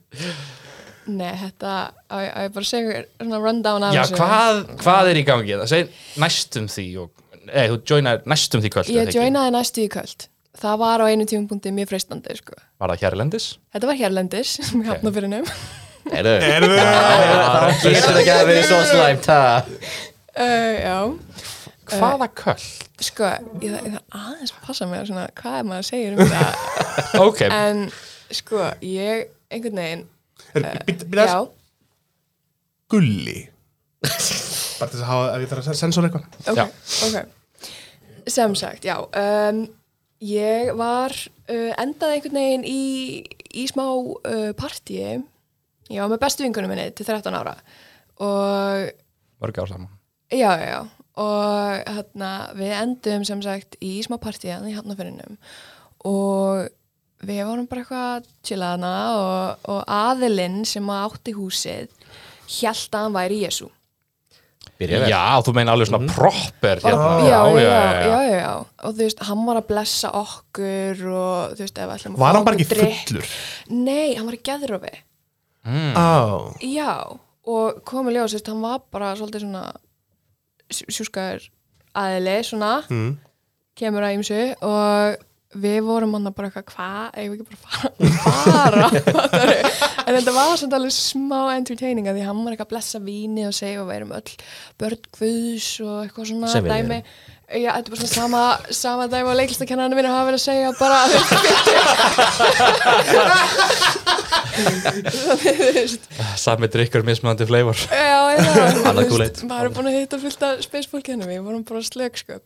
[SPEAKER 4] Nei, þetta, á, ég- á ég bara að segja ykkur svona rundown af
[SPEAKER 2] Já,
[SPEAKER 4] þessu
[SPEAKER 2] hvað, hvað er í gangi? Það segir næstum því og, Nei, þú joinar næstum því kvöld
[SPEAKER 4] Ég joinaði næstu í kvöld Það var á einu tímapunkti mjög freistandi sko.
[SPEAKER 2] Var það hérlendis?
[SPEAKER 4] Þetta var hérlendis, sem ég hafna fyrir nefn.
[SPEAKER 3] Erðu?
[SPEAKER 1] Erum við
[SPEAKER 3] Það getur ekki að vera svo slæmt ha?
[SPEAKER 4] Uh, já, Eh.
[SPEAKER 2] Hvaða kvöld?
[SPEAKER 4] sko, ég þarf ég þarf aðeins að passa mig á svona hvað er maður að segja um þetta.
[SPEAKER 2] Ok,
[SPEAKER 4] En, sko, ég, einhvern veginn,
[SPEAKER 1] Býta
[SPEAKER 4] já,
[SPEAKER 1] Gulli Bara til þess að hafa, ef ég þarf að sensora eitthvað
[SPEAKER 4] ok,
[SPEAKER 2] Já.
[SPEAKER 4] ok. Sem sagt, já, um, ég var, uh, endaði einhvern veginn í, í smá uh, partíi, ég var með bestu vingunum minni til 13 ára og
[SPEAKER 2] mörg ár saman
[SPEAKER 4] Já, já, já. Og hérna, við endum sem sagt í smá partíðan í hafnafyrinum og við vorum bara eitthvað að chilla hana og, og aðilinn sem að átti húsið hjælt að hann væri Jésu.
[SPEAKER 3] Byrja vel
[SPEAKER 2] Já, þú meina alveg svona proper hérna.
[SPEAKER 4] Oh, já, já, já, já, já. Og þú veist, hann var að blessa okkur og þú veist, ef við ætlum að
[SPEAKER 1] Var
[SPEAKER 4] fá
[SPEAKER 1] hann bara
[SPEAKER 4] okkur
[SPEAKER 1] ekki
[SPEAKER 4] drykk-
[SPEAKER 1] fullur?
[SPEAKER 4] Nei, hann var í geðrofi.
[SPEAKER 2] Mm.
[SPEAKER 1] Á
[SPEAKER 4] Já, og komið ljós, þú veist, hann var bara svolítið svona sjú- sjúskaður aðili, svona,
[SPEAKER 1] Mm.
[SPEAKER 4] kemur að ýmsu og við vorum hann bara eitthvað, hvað, eigum við ekki bara að fara, fara, en þetta var samt alveg smá entertaining að því hann var eitthvað að blessa víni og segja og við erum öll börn guðs og eitthvað svona
[SPEAKER 3] Sem við
[SPEAKER 4] dæmi, já, þetta er bara svona sama, sama dæmi og leiklistakennarinn minn hafa verið að segja bara, þú veist,
[SPEAKER 2] Sami drikkur mismunandi flavor
[SPEAKER 4] Já, já,
[SPEAKER 3] Annað
[SPEAKER 4] þú
[SPEAKER 3] Kool-Aid.
[SPEAKER 4] veist, maður er búin að hitta fullt af spacefólkinu, við vorum bara slög, sko.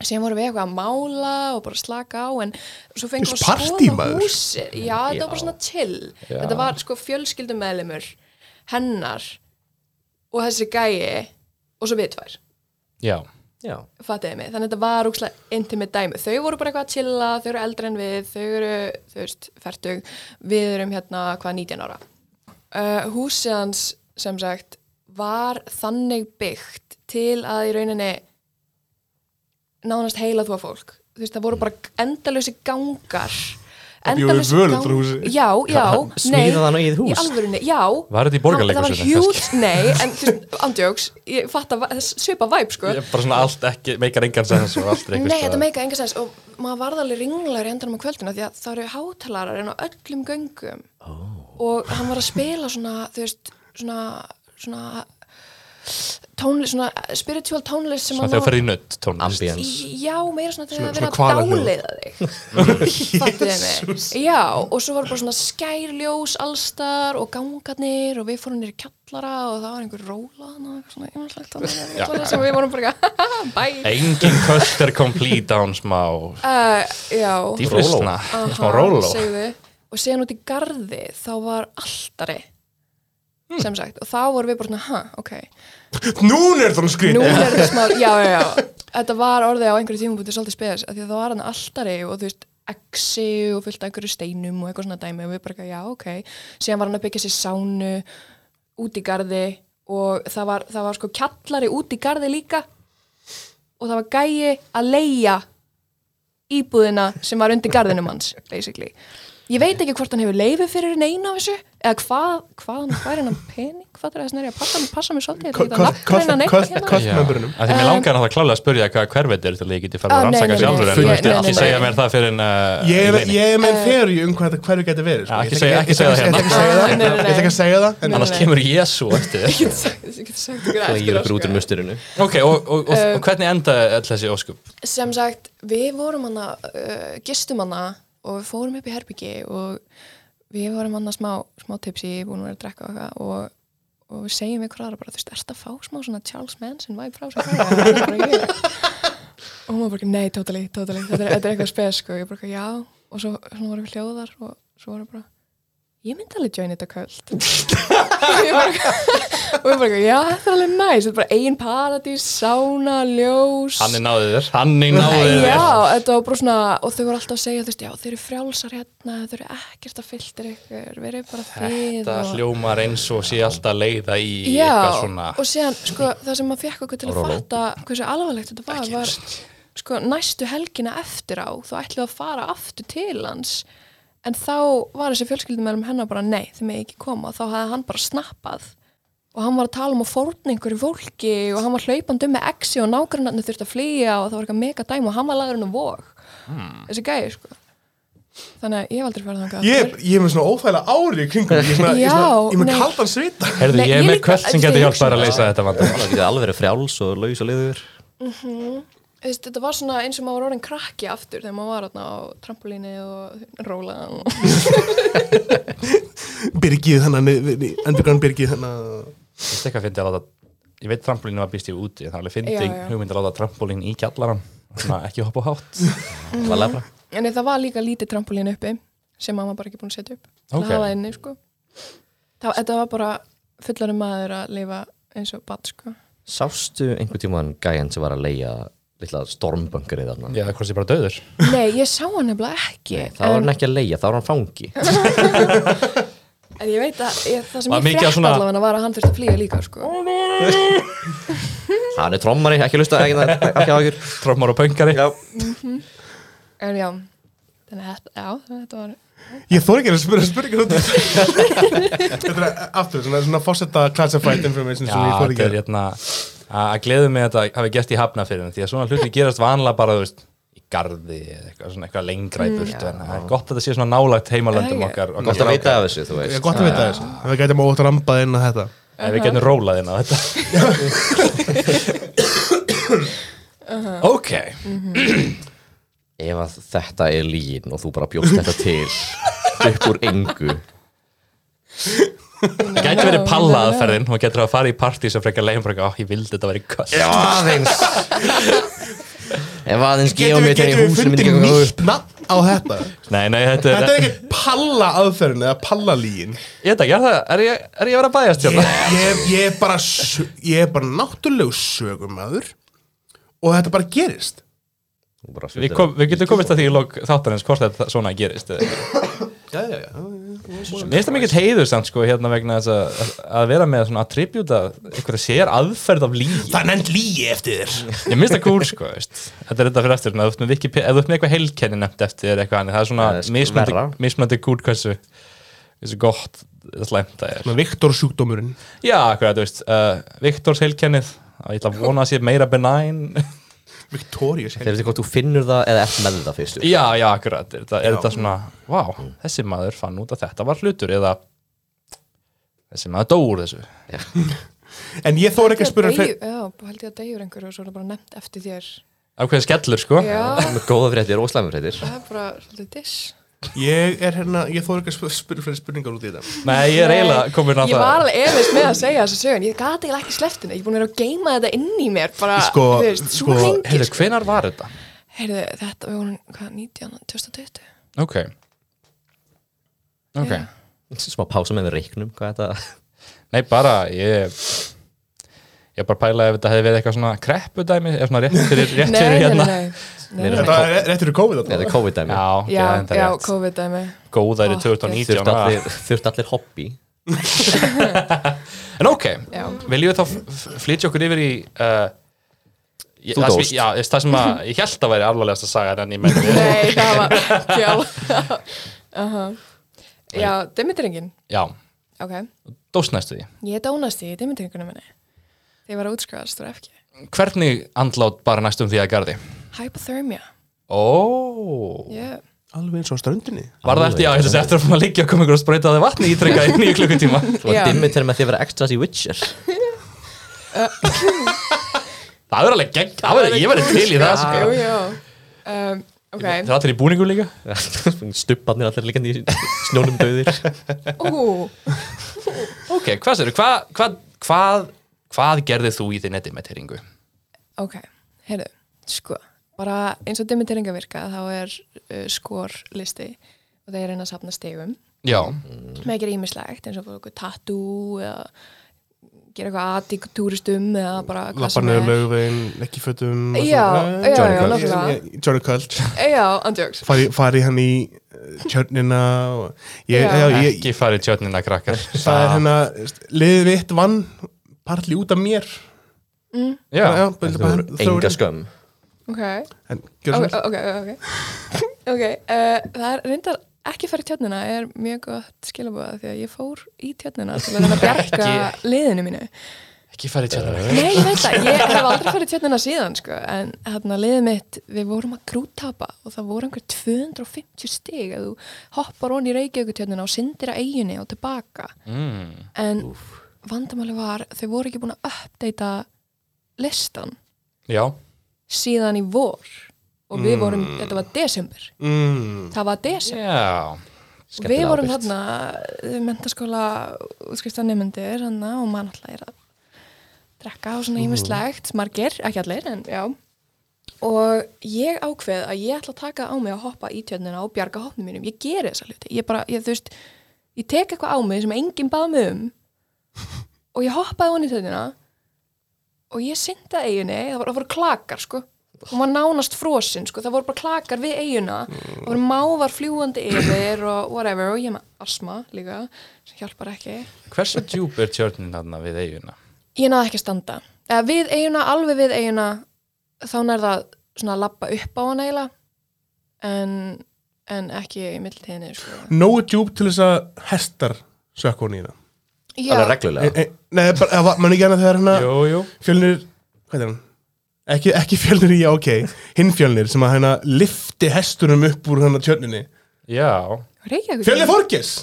[SPEAKER 4] Síðan vorum við eitthvað að mála og bara slaka á, en svo fengum
[SPEAKER 1] Þú
[SPEAKER 4] við að
[SPEAKER 1] veist, partí,
[SPEAKER 4] skoða
[SPEAKER 1] maður.
[SPEAKER 4] húsið. Já, þetta var bara
[SPEAKER 3] Já.
[SPEAKER 4] svona chill. Þetta var sko fjölskyldum meðlumur, hennar og þessi gæi og svo við tvær,
[SPEAKER 2] Já,
[SPEAKER 3] Já
[SPEAKER 4] fattiði mig. Þannig að þetta var úkslega intimate dæmi. Þau voru bara eitthvað að chilla, þau eru eldri en við, þau eru, þau veist, fertug, við erum hérna hvað 19 ára uh, húsið hans sem sagt var þannig byggt til að í rauninni nánast heila þú að fólk þú veist það voru bara endalösi gangar
[SPEAKER 1] Það bjó við
[SPEAKER 4] endalausir
[SPEAKER 1] völ
[SPEAKER 4] gang-
[SPEAKER 1] undir húsi.
[SPEAKER 4] já, já, nei
[SPEAKER 3] Smíðaði hann eigið
[SPEAKER 4] í
[SPEAKER 3] hús?
[SPEAKER 4] alvörunni, já
[SPEAKER 2] Var þetta í Borgarleikhúsinu,
[SPEAKER 4] það var hjút, nei, en þú veist, andjóks ég fatt að svipa væp sko
[SPEAKER 2] Ég bara svona allt ekki, meikar engan sens og allt er einhvers
[SPEAKER 4] Nei,
[SPEAKER 2] staðar.
[SPEAKER 4] þetta meika enga sens og maður varð alveg ringlar í endanum á kvöldina því að það eru hátalarar en á öllum göngum oh. og hann var að spila svona, þú veist, svona, svona tónlist, svona spiritual tónlist sem
[SPEAKER 2] Svona
[SPEAKER 4] að
[SPEAKER 2] þegar
[SPEAKER 4] maður-
[SPEAKER 2] fyrir í nutt tónlist
[SPEAKER 3] Ambien
[SPEAKER 4] Í- Já, meira svona þegar
[SPEAKER 1] Svona-
[SPEAKER 4] það
[SPEAKER 1] svona
[SPEAKER 4] er verið að
[SPEAKER 1] hvalahljóð.
[SPEAKER 4] dáleiða þig Fattuði mig Já, og svo var bara svona skærljós allstar og gangarnir og við fórum nýri kjallara og það var einhver róla og eitthvað svona einhverslegt þannig sem við vorum bara eitthvað, bæ
[SPEAKER 2] Engin köst er complete án smá
[SPEAKER 4] uh, Já
[SPEAKER 2] dýflisna,
[SPEAKER 4] Aha,
[SPEAKER 2] smá róló
[SPEAKER 4] segðu. og síðan út í garði þá var alltari sem sagt, og þá vorum við bara svona, ha, ok
[SPEAKER 1] Núna er það skrýt
[SPEAKER 4] nú er þetta smá, já, já, já þetta var orðið á einhverju tímum bútið svolítið spes af því að það var hann altari og þú veist exi og fullt af einhverju steinum og eitthvað svona dæmi og við bara, já, ok síðan var hann að byggja sér sánu út í garði og það var, það var sko kjallari út í garði líka og það var gæi að leia íbúðina sem var undir garðinum hans basically. Ég veit ekki hvort hann hefur leifi fyrir neina af þessu eða hvað, hvað hann fær hennan pening hvað er það snarja, passa, passa mig svolítið ég ætla ekki að nafngreina neitt hérna.
[SPEAKER 1] Kvöld mömburunum
[SPEAKER 2] að því mér langar að það klálega að spurja hvað hverfið er til að ég geti farið
[SPEAKER 4] Ah,
[SPEAKER 2] að
[SPEAKER 4] nei,
[SPEAKER 2] rannsaka
[SPEAKER 4] nei, nei,
[SPEAKER 2] sjálfur
[SPEAKER 4] nei,
[SPEAKER 2] en
[SPEAKER 4] nei,
[SPEAKER 2] ekki
[SPEAKER 4] nei,
[SPEAKER 2] ekki
[SPEAKER 4] nei,
[SPEAKER 2] segja
[SPEAKER 4] nei.
[SPEAKER 2] mér það fyrir en uh,
[SPEAKER 1] Ég
[SPEAKER 2] í
[SPEAKER 1] er með-
[SPEAKER 2] leiðinni.
[SPEAKER 1] ég er
[SPEAKER 4] Eh.
[SPEAKER 1] með þeirri um hvað þetta hverfi geti verið sko.
[SPEAKER 2] Ja,
[SPEAKER 1] Ég
[SPEAKER 2] ekki
[SPEAKER 1] ætla
[SPEAKER 2] segja- ekki segja það
[SPEAKER 1] Ég ætla ekki að segja það
[SPEAKER 4] hérna. Nei, nei, nei.
[SPEAKER 1] Ég ætla ekki að segja það en-
[SPEAKER 2] annars
[SPEAKER 4] Nei, nei.
[SPEAKER 2] kemur Jésu eftir þér
[SPEAKER 4] Ég get sagt- ég get sagt ykkur
[SPEAKER 3] Þannig að ég
[SPEAKER 4] eftir
[SPEAKER 3] er bara út um úr
[SPEAKER 4] óskar.
[SPEAKER 3] musturinu
[SPEAKER 2] ok, og, og, og, og hvernig endaði all þessi óskup?
[SPEAKER 4] sem sagt, við vorum hann uh, gistum hann og við fórum upp í herbyggi og við vorum hann smá, smá tipsi búin að vera að drekka og, eitthvað og, og við segjum ykkur aðra bara, þú veist, ert að fá smá svona Charles Manson væp frá sér og hann er bara ég og hún var bara, nei, totally, totally þetta er, þetta er eitthvað spes, sko, ég bara, já og svo, svo vorum við hljóðar og svo vorum við bara ég myndi alveg join þetta kvöld og ég bara, og ég bara já, þetta er alveg næs, þetta er bara ein paradís sána, ljós
[SPEAKER 2] Hanni náði þér, Hanni náði þér
[SPEAKER 4] Já, þetta var bara svona og þau voru alltaf að segja, þú veist, já, þeir eru frjálsar hérna, þau eru ekkert að fylgta ykkur verið bara þið
[SPEAKER 2] Þetta
[SPEAKER 4] og...
[SPEAKER 2] hljómar eins og sé alltaf leiða í
[SPEAKER 4] Já,
[SPEAKER 2] eitthvað svona
[SPEAKER 4] og síðan, sko, það sem maður fekk okkur til að
[SPEAKER 3] Róló.
[SPEAKER 4] fatta hversu alvarlegt þetta var, var sko, næstu helgina eftir á, þá ætlum við að fara aftur til hans en þá var þessi fjölskyldum meðlum hennar bara nei, þið með ekki koma, þá hafði hann bara snappað og hann var að tala um að fórna einhverju fólki og hann var hlaupandi um með exi og nágrannarnir þurfti að flýja og það var eitthvað mega dæm og hann var lagður um vóg
[SPEAKER 2] Hmm.
[SPEAKER 4] þessi gæði sko þannig að ég hef aldrei farið þangað
[SPEAKER 1] Ég ég er með svona óþægilega ári í kringum mig. Ég er svona- ég er svona-
[SPEAKER 4] Já,
[SPEAKER 1] ég er með
[SPEAKER 4] nei.
[SPEAKER 1] kaldan svita
[SPEAKER 2] Herðu,
[SPEAKER 4] Nei,
[SPEAKER 2] ég
[SPEAKER 4] ég
[SPEAKER 2] er með
[SPEAKER 4] líka-
[SPEAKER 2] hvert sem
[SPEAKER 4] ég
[SPEAKER 2] getur
[SPEAKER 4] hugsa
[SPEAKER 2] hjálpað að
[SPEAKER 4] það.
[SPEAKER 2] leysa þetta vandamál
[SPEAKER 3] Það getur alveg verið frjáls og laus og liður
[SPEAKER 4] Þú veist, þetta var svona eins og maður var orðin krakki aftur þegar maður var þarna á trampolíni og rólaðan og
[SPEAKER 1] Byrgið hennan Underground byrgið hennan
[SPEAKER 2] Ég veist eitthvað fyndi að láta Ég veit trampolínu var býst í úti en Það er alveg
[SPEAKER 4] Já,
[SPEAKER 2] fyndi
[SPEAKER 4] já.
[SPEAKER 2] hugmynd að láta trampolín í kjallaran Svona ekki hoppa á hátt
[SPEAKER 4] Mhm.
[SPEAKER 3] Valega
[SPEAKER 4] En það var líka lítið trampolín uppi sem mamma bara ekki búin að setja upp til
[SPEAKER 2] Ok.
[SPEAKER 4] að hafa það inni, sko Þá, Þetta var bara fullari maður að lifa eins og bat, sko
[SPEAKER 3] Sástu einhvern tímann gæjan sem var að leia litla stormböngri
[SPEAKER 4] Um.
[SPEAKER 3] þarna?
[SPEAKER 2] Já, hvort sé bara döður
[SPEAKER 4] Nei, ég sá hann nefnilega ekki
[SPEAKER 3] Það var hann ekki að leia, það var hann fangi
[SPEAKER 4] En ég veit að ég, það sem
[SPEAKER 2] Var
[SPEAKER 4] ég
[SPEAKER 2] mikið
[SPEAKER 4] frétt
[SPEAKER 2] að svona-
[SPEAKER 4] allavega var að hann þurfti að flýja líka, sko
[SPEAKER 3] Hann er trommari, ekki lusta, ekki ekki áhugur
[SPEAKER 2] Trommar og pöngari
[SPEAKER 3] Já,
[SPEAKER 4] En já, þannig að þetta, já, þetta var
[SPEAKER 1] Ég þóri ekki að spyrja spurningar út í þetta. Þetta er aftur svona, svona fósetta classified information
[SPEAKER 2] Já,
[SPEAKER 1] sem ég þóri
[SPEAKER 2] þetta
[SPEAKER 1] ekki
[SPEAKER 2] er
[SPEAKER 1] að
[SPEAKER 2] hérna að að gleðu mig að þetta hafi gert í hafna fyrir Því að svona hluti gerast vanlega bara, þú veist í garði eða eitthvað, svona eitthvað lengra í burtu en það er gott að þetta sé svona nálægt heimalöndum
[SPEAKER 4] Já, já.
[SPEAKER 2] okkar og
[SPEAKER 3] gott að vita af þessu, þú
[SPEAKER 1] Ég er
[SPEAKER 3] veist
[SPEAKER 1] gott að vita þessu Það gætum ótt að rambað inn á þetta
[SPEAKER 2] Ef við getum rólað inn á þetta Ok
[SPEAKER 3] Ef að þetta er lín og þú bara bjóst þetta til upp úr engu
[SPEAKER 2] Það gæti verið pallaðferðin og getur að fara í partí sem frekar leiðum bara, "Ó, ég vildi þetta verið köst
[SPEAKER 3] Ef aðeins Ef aðeins gefa
[SPEAKER 1] Getum
[SPEAKER 3] mig
[SPEAKER 1] við,
[SPEAKER 3] til
[SPEAKER 1] getum
[SPEAKER 3] í
[SPEAKER 1] við
[SPEAKER 3] húsum myndi
[SPEAKER 1] fundið
[SPEAKER 3] ganga upp
[SPEAKER 1] nýtt nafn á þetta
[SPEAKER 2] Nei, nei, þetta er,
[SPEAKER 1] Þetta er ekki palla aðferðin eða palla líin
[SPEAKER 2] Ég veit ekki, er, það- er, ég, er ég að vera að bæjast
[SPEAKER 1] ég,
[SPEAKER 2] hérna?
[SPEAKER 1] ég, er- ég er bara sö- Ég er bara náttúrlegu sögumöður og þetta bara gerist
[SPEAKER 3] Þú bara
[SPEAKER 2] Við,
[SPEAKER 3] sviptir
[SPEAKER 2] kom, við getum komist að því í lók þáttarins hvort þetta svona gerist. eða ekki.
[SPEAKER 1] Já, já, já
[SPEAKER 2] Mér finnst það mikill heiður samt sko hérna vegna þess að, að vera með svona attribúta einhverja sér aðferð af lígi.
[SPEAKER 1] Það er nefnd líi eftir þér
[SPEAKER 2] Ég minnst það cool sko, veist. Þetta er þetta fyrir eftir, svona, ef þú ert með Wikipedia- ef þú ert með eitthvað heilkenni nefnt eftir eða eitthvað annað, það er svona
[SPEAKER 3] Það er sk-
[SPEAKER 2] mismunandi,
[SPEAKER 3] verra.
[SPEAKER 2] mismunandi cool hversu, hversu gott eh, slæmt það er.
[SPEAKER 1] Viktor sjúkdómurinn
[SPEAKER 2] Já, hvað þú veist, uh, Viktors heilkennið, að ég ætla að vona að sé meira benign.
[SPEAKER 1] Victorious
[SPEAKER 3] Þegar þetta er hvort þú finnur það eða ert með það fyrst
[SPEAKER 2] Já, já, akkurat, er þetta, er þetta svona Vá, þessi maður fann út að þetta var hlutur eða þessi maður dó úr þessu
[SPEAKER 1] En ég þóri ekki að
[SPEAKER 2] um
[SPEAKER 1] spyrja fleiri-
[SPEAKER 4] deyju- Já, bara held ég að deyjur einhverju og svo er það bara nefnt eftir þér
[SPEAKER 2] Ákveðin skellur, sko
[SPEAKER 4] Já,
[SPEAKER 3] Með góða fréttir og slæmi fréttir
[SPEAKER 4] það er bara svolítið diss
[SPEAKER 1] Ég er hérna, ég þóri ekki að spyrja fleiri spurningar út í þetta
[SPEAKER 2] Nei, ég er eiginlega komin á
[SPEAKER 4] Ég var
[SPEAKER 2] það
[SPEAKER 4] alveg efist með að segja þessa sögun Ég gati eiginlega ekki sleftina Ég er búin að vera að geima þetta inn í mér bara,
[SPEAKER 1] Sko,
[SPEAKER 4] þú veist,
[SPEAKER 1] sko,
[SPEAKER 4] svo hringir
[SPEAKER 2] Heyrðu,
[SPEAKER 4] sko.
[SPEAKER 2] hvenar var þetta?
[SPEAKER 4] Heyrðu, þetta við vorum, hvað, 19, 2020
[SPEAKER 2] Ok Ok
[SPEAKER 4] Já.
[SPEAKER 3] Smá pása með reiknum, hvað er þetta?
[SPEAKER 2] Nei, bara, ég ég bara pælaði ef þetta hefði verið eitthvað svona kreppudæmi, eða svona rétt fyrir, rétt
[SPEAKER 4] Nei,
[SPEAKER 2] fyrir
[SPEAKER 4] nei,
[SPEAKER 2] hérna.
[SPEAKER 4] nei, nei.
[SPEAKER 3] Nei,
[SPEAKER 4] nei.
[SPEAKER 1] Þetta er réttur í COVID
[SPEAKER 3] Nei,
[SPEAKER 1] þarna.
[SPEAKER 3] þetta er COVID-dæmi
[SPEAKER 2] Já, ok,
[SPEAKER 4] Já,
[SPEAKER 2] það er
[SPEAKER 4] já,
[SPEAKER 2] rétt.
[SPEAKER 4] COVID-dæmi.
[SPEAKER 2] Góðæri
[SPEAKER 4] Ó,
[SPEAKER 2] 2019.
[SPEAKER 3] Þurft
[SPEAKER 2] það.
[SPEAKER 3] allir, þurft allir hobby
[SPEAKER 2] En ok,
[SPEAKER 4] Já.
[SPEAKER 2] viljum við þá f- f- flytja okkur yfir í uh, ég,
[SPEAKER 3] Þú
[SPEAKER 2] það sem-
[SPEAKER 3] dóst.
[SPEAKER 2] Já, ég- það sem að, ég held að væri alvarlegast að saga en ég menn við
[SPEAKER 4] Nei, það var ekki alveg. Aha. Já, dimmitringin.
[SPEAKER 2] Já,
[SPEAKER 4] Ok.
[SPEAKER 2] dóst næstu því
[SPEAKER 4] Ég dónast í dimmitringunum minni. Þegar ég var að útskrifast úr FG.
[SPEAKER 2] Hvernig andlát bara næstum því að garði?
[SPEAKER 4] Hypothermia.
[SPEAKER 2] Ó
[SPEAKER 4] Ég,
[SPEAKER 1] Alveg eins og á ströndinni.
[SPEAKER 2] Var það eftir, já, ég þessi eftir að fórum að liggja og koma ykkur að sprauta þig vatni ítrykka í nýju klukkutíma
[SPEAKER 3] Svo
[SPEAKER 4] Já.
[SPEAKER 3] að dimmi til með því að vera extras í Witcher
[SPEAKER 2] Það verður alveg gegn, það verður, ég verður til í það sko.
[SPEAKER 4] jú, jú. Um, ok.
[SPEAKER 2] Það er allir í búningum líka
[SPEAKER 3] Stubbarnir allir líka í snjónum döðir
[SPEAKER 4] Ú,
[SPEAKER 2] Ok, hvað sér, hvað, hvað, hvað, hvað gerðið þú í þinn edimeteringu?
[SPEAKER 4] ok. Heyrðu, sko. Bara eins og dimmitringa virka, þá er uh, skorlisti og það er einn að safna stegum.
[SPEAKER 2] Já,
[SPEAKER 1] Mm.
[SPEAKER 4] með að gera ímislegt eins og fór okkur tattoo eða gera eitthvað aðtík túristum eða bara hvað
[SPEAKER 1] Lappa
[SPEAKER 4] sem
[SPEAKER 1] niður
[SPEAKER 4] er
[SPEAKER 1] laugveginn, ekki fötum. og
[SPEAKER 4] Já,
[SPEAKER 1] svona.
[SPEAKER 4] já,
[SPEAKER 3] Johnny
[SPEAKER 4] já,
[SPEAKER 3] Cult.
[SPEAKER 4] náttúrulega
[SPEAKER 1] Johnny Cult.
[SPEAKER 4] Eh, Já, andjóks
[SPEAKER 1] Fari, fari hann í eh, tjörnina. og- Ég,
[SPEAKER 4] Já.
[SPEAKER 1] já, ég,
[SPEAKER 2] ekki farið tjörnina krakkar
[SPEAKER 1] það er hérna, liðið mitt vann partli út af mér.
[SPEAKER 2] Já,
[SPEAKER 1] Já, bara-
[SPEAKER 3] Þetta
[SPEAKER 1] bara-
[SPEAKER 3] voru sko-
[SPEAKER 1] þróun.
[SPEAKER 3] enga skömm
[SPEAKER 4] Ok,
[SPEAKER 1] En,
[SPEAKER 4] ok,
[SPEAKER 1] gjörðu svo vel.
[SPEAKER 4] ok, ok Ok, uh, það er reyndar ekki að fara í tjörnina er mjög gott skilabóða því að ég fór í tjörnina til að reyna að bjarga
[SPEAKER 2] Ekki-
[SPEAKER 4] liðinu mínu
[SPEAKER 2] ekki farið tjörnina
[SPEAKER 4] Nei, ég veit það, ég hef aldrei farið í tjörnina síðan sko, en hérna liðið mitt, við vorum að grúttapa og það voru einhver 250 stig að þú hoppar onni í Reykjavík tjörnina og syndir að eiginni og tilbaka
[SPEAKER 2] mm.
[SPEAKER 4] en vandamáli var, þau voru ekki búin að uppdata listan
[SPEAKER 2] Já,
[SPEAKER 4] síðan í vor og við vorum, þetta var desember
[SPEAKER 1] Mm.
[SPEAKER 4] það var desember
[SPEAKER 2] já
[SPEAKER 4] og við
[SPEAKER 3] Skemmtilega
[SPEAKER 4] vorum
[SPEAKER 3] ábyrgt.
[SPEAKER 4] þarna eh, menntaskóla útskriftanemendur hana, og mann alltaf er að drekka og svona ímislegt, margir, ekki allir en já og ég ákveð að ég ætla að taka á mig að hoppa í tjörnina og bjarga hoppnum mínum ég geri þessa hluti, ég bara, ég, þú veist ég tek eitthvað á mig sem enginn bað mig um og ég hoppaði honni í tjörnina og ég synda eiginni, það voru, það voru klakar sko hún var nánast frosinn sko, það voru bara klakar við eiguna það voru mávar fljúandi yfir og whatever, og ég er með asma líka sem hjálpar ekki
[SPEAKER 2] Hversu djúb er tjörnin þarna við eiguna?
[SPEAKER 4] ég náði ekki að standa eða við eiguna, alveg við eiguna þá nær það svona að lappa upp á hana eiginlega en, en ekki í milltíðinni sko.
[SPEAKER 1] Nógu djúb til þess að hestar sökku hún í það.
[SPEAKER 4] Já,
[SPEAKER 3] Alveg
[SPEAKER 1] E,
[SPEAKER 3] reglulega
[SPEAKER 1] e, nei, bara, var, mann ekki annað þegar
[SPEAKER 4] Ah.
[SPEAKER 1] hérna
[SPEAKER 2] Jú, jú
[SPEAKER 1] fjölnir, hvað er hann? Ekki, ekki fjölnir í, já, ok, hinn fjölnir sem að hérna lifti hestunum upp úr hérna tjörninni.
[SPEAKER 2] Já,
[SPEAKER 4] Reykjavík
[SPEAKER 1] Fjölnir Forgis!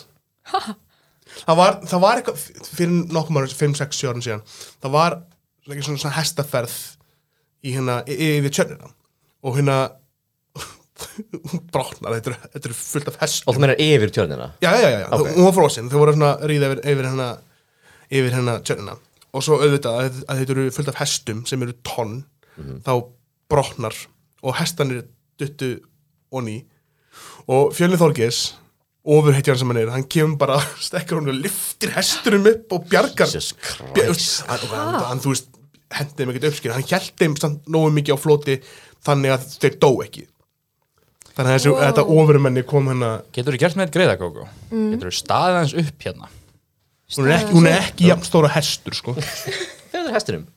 [SPEAKER 1] Það var, það var eitthvað, fyrir nokkum ára, 5-6 árum síðan, það var ekki svona, svona hestaferð í hérna, y- yfir tjörnina og hérna, hún brotnar, þetta eru- þetta eru fullt af hestum.
[SPEAKER 3] Og þú meinar yfir tjörnina
[SPEAKER 1] já, já, já, já.
[SPEAKER 3] Ok.
[SPEAKER 1] hún var frosin þau voru svona að ríða yfir, yfir hérna yfir hérna tjörnina og svo auðvitað að, að þetta eru fullt af hestum sem eru tonn
[SPEAKER 3] Mhm.
[SPEAKER 1] þá brotnar og hestanir duttu onni og fjölnið Þorgis ofur heitjan sem hann er, hann kemur bara stekkur hún og lyftir hestunum upp og bjargar
[SPEAKER 3] Jesus
[SPEAKER 1] Björ- hann, og hann, hann, þú veist, hendið þeim ekkert uppskýr hann hjælt þeim samt nógu mikið á floti þannig að þeir dó ekki þannig að þessi,
[SPEAKER 4] Wow.
[SPEAKER 1] þetta ofurmenni kom hérna
[SPEAKER 2] getur þú gert með þetta greiða, Gógó? Mm. Getur þú staðið hans upp hérna?
[SPEAKER 1] Hún er ekki, hún er ekki jafn stóra hestur, sko.
[SPEAKER 3] Fyrir hestinum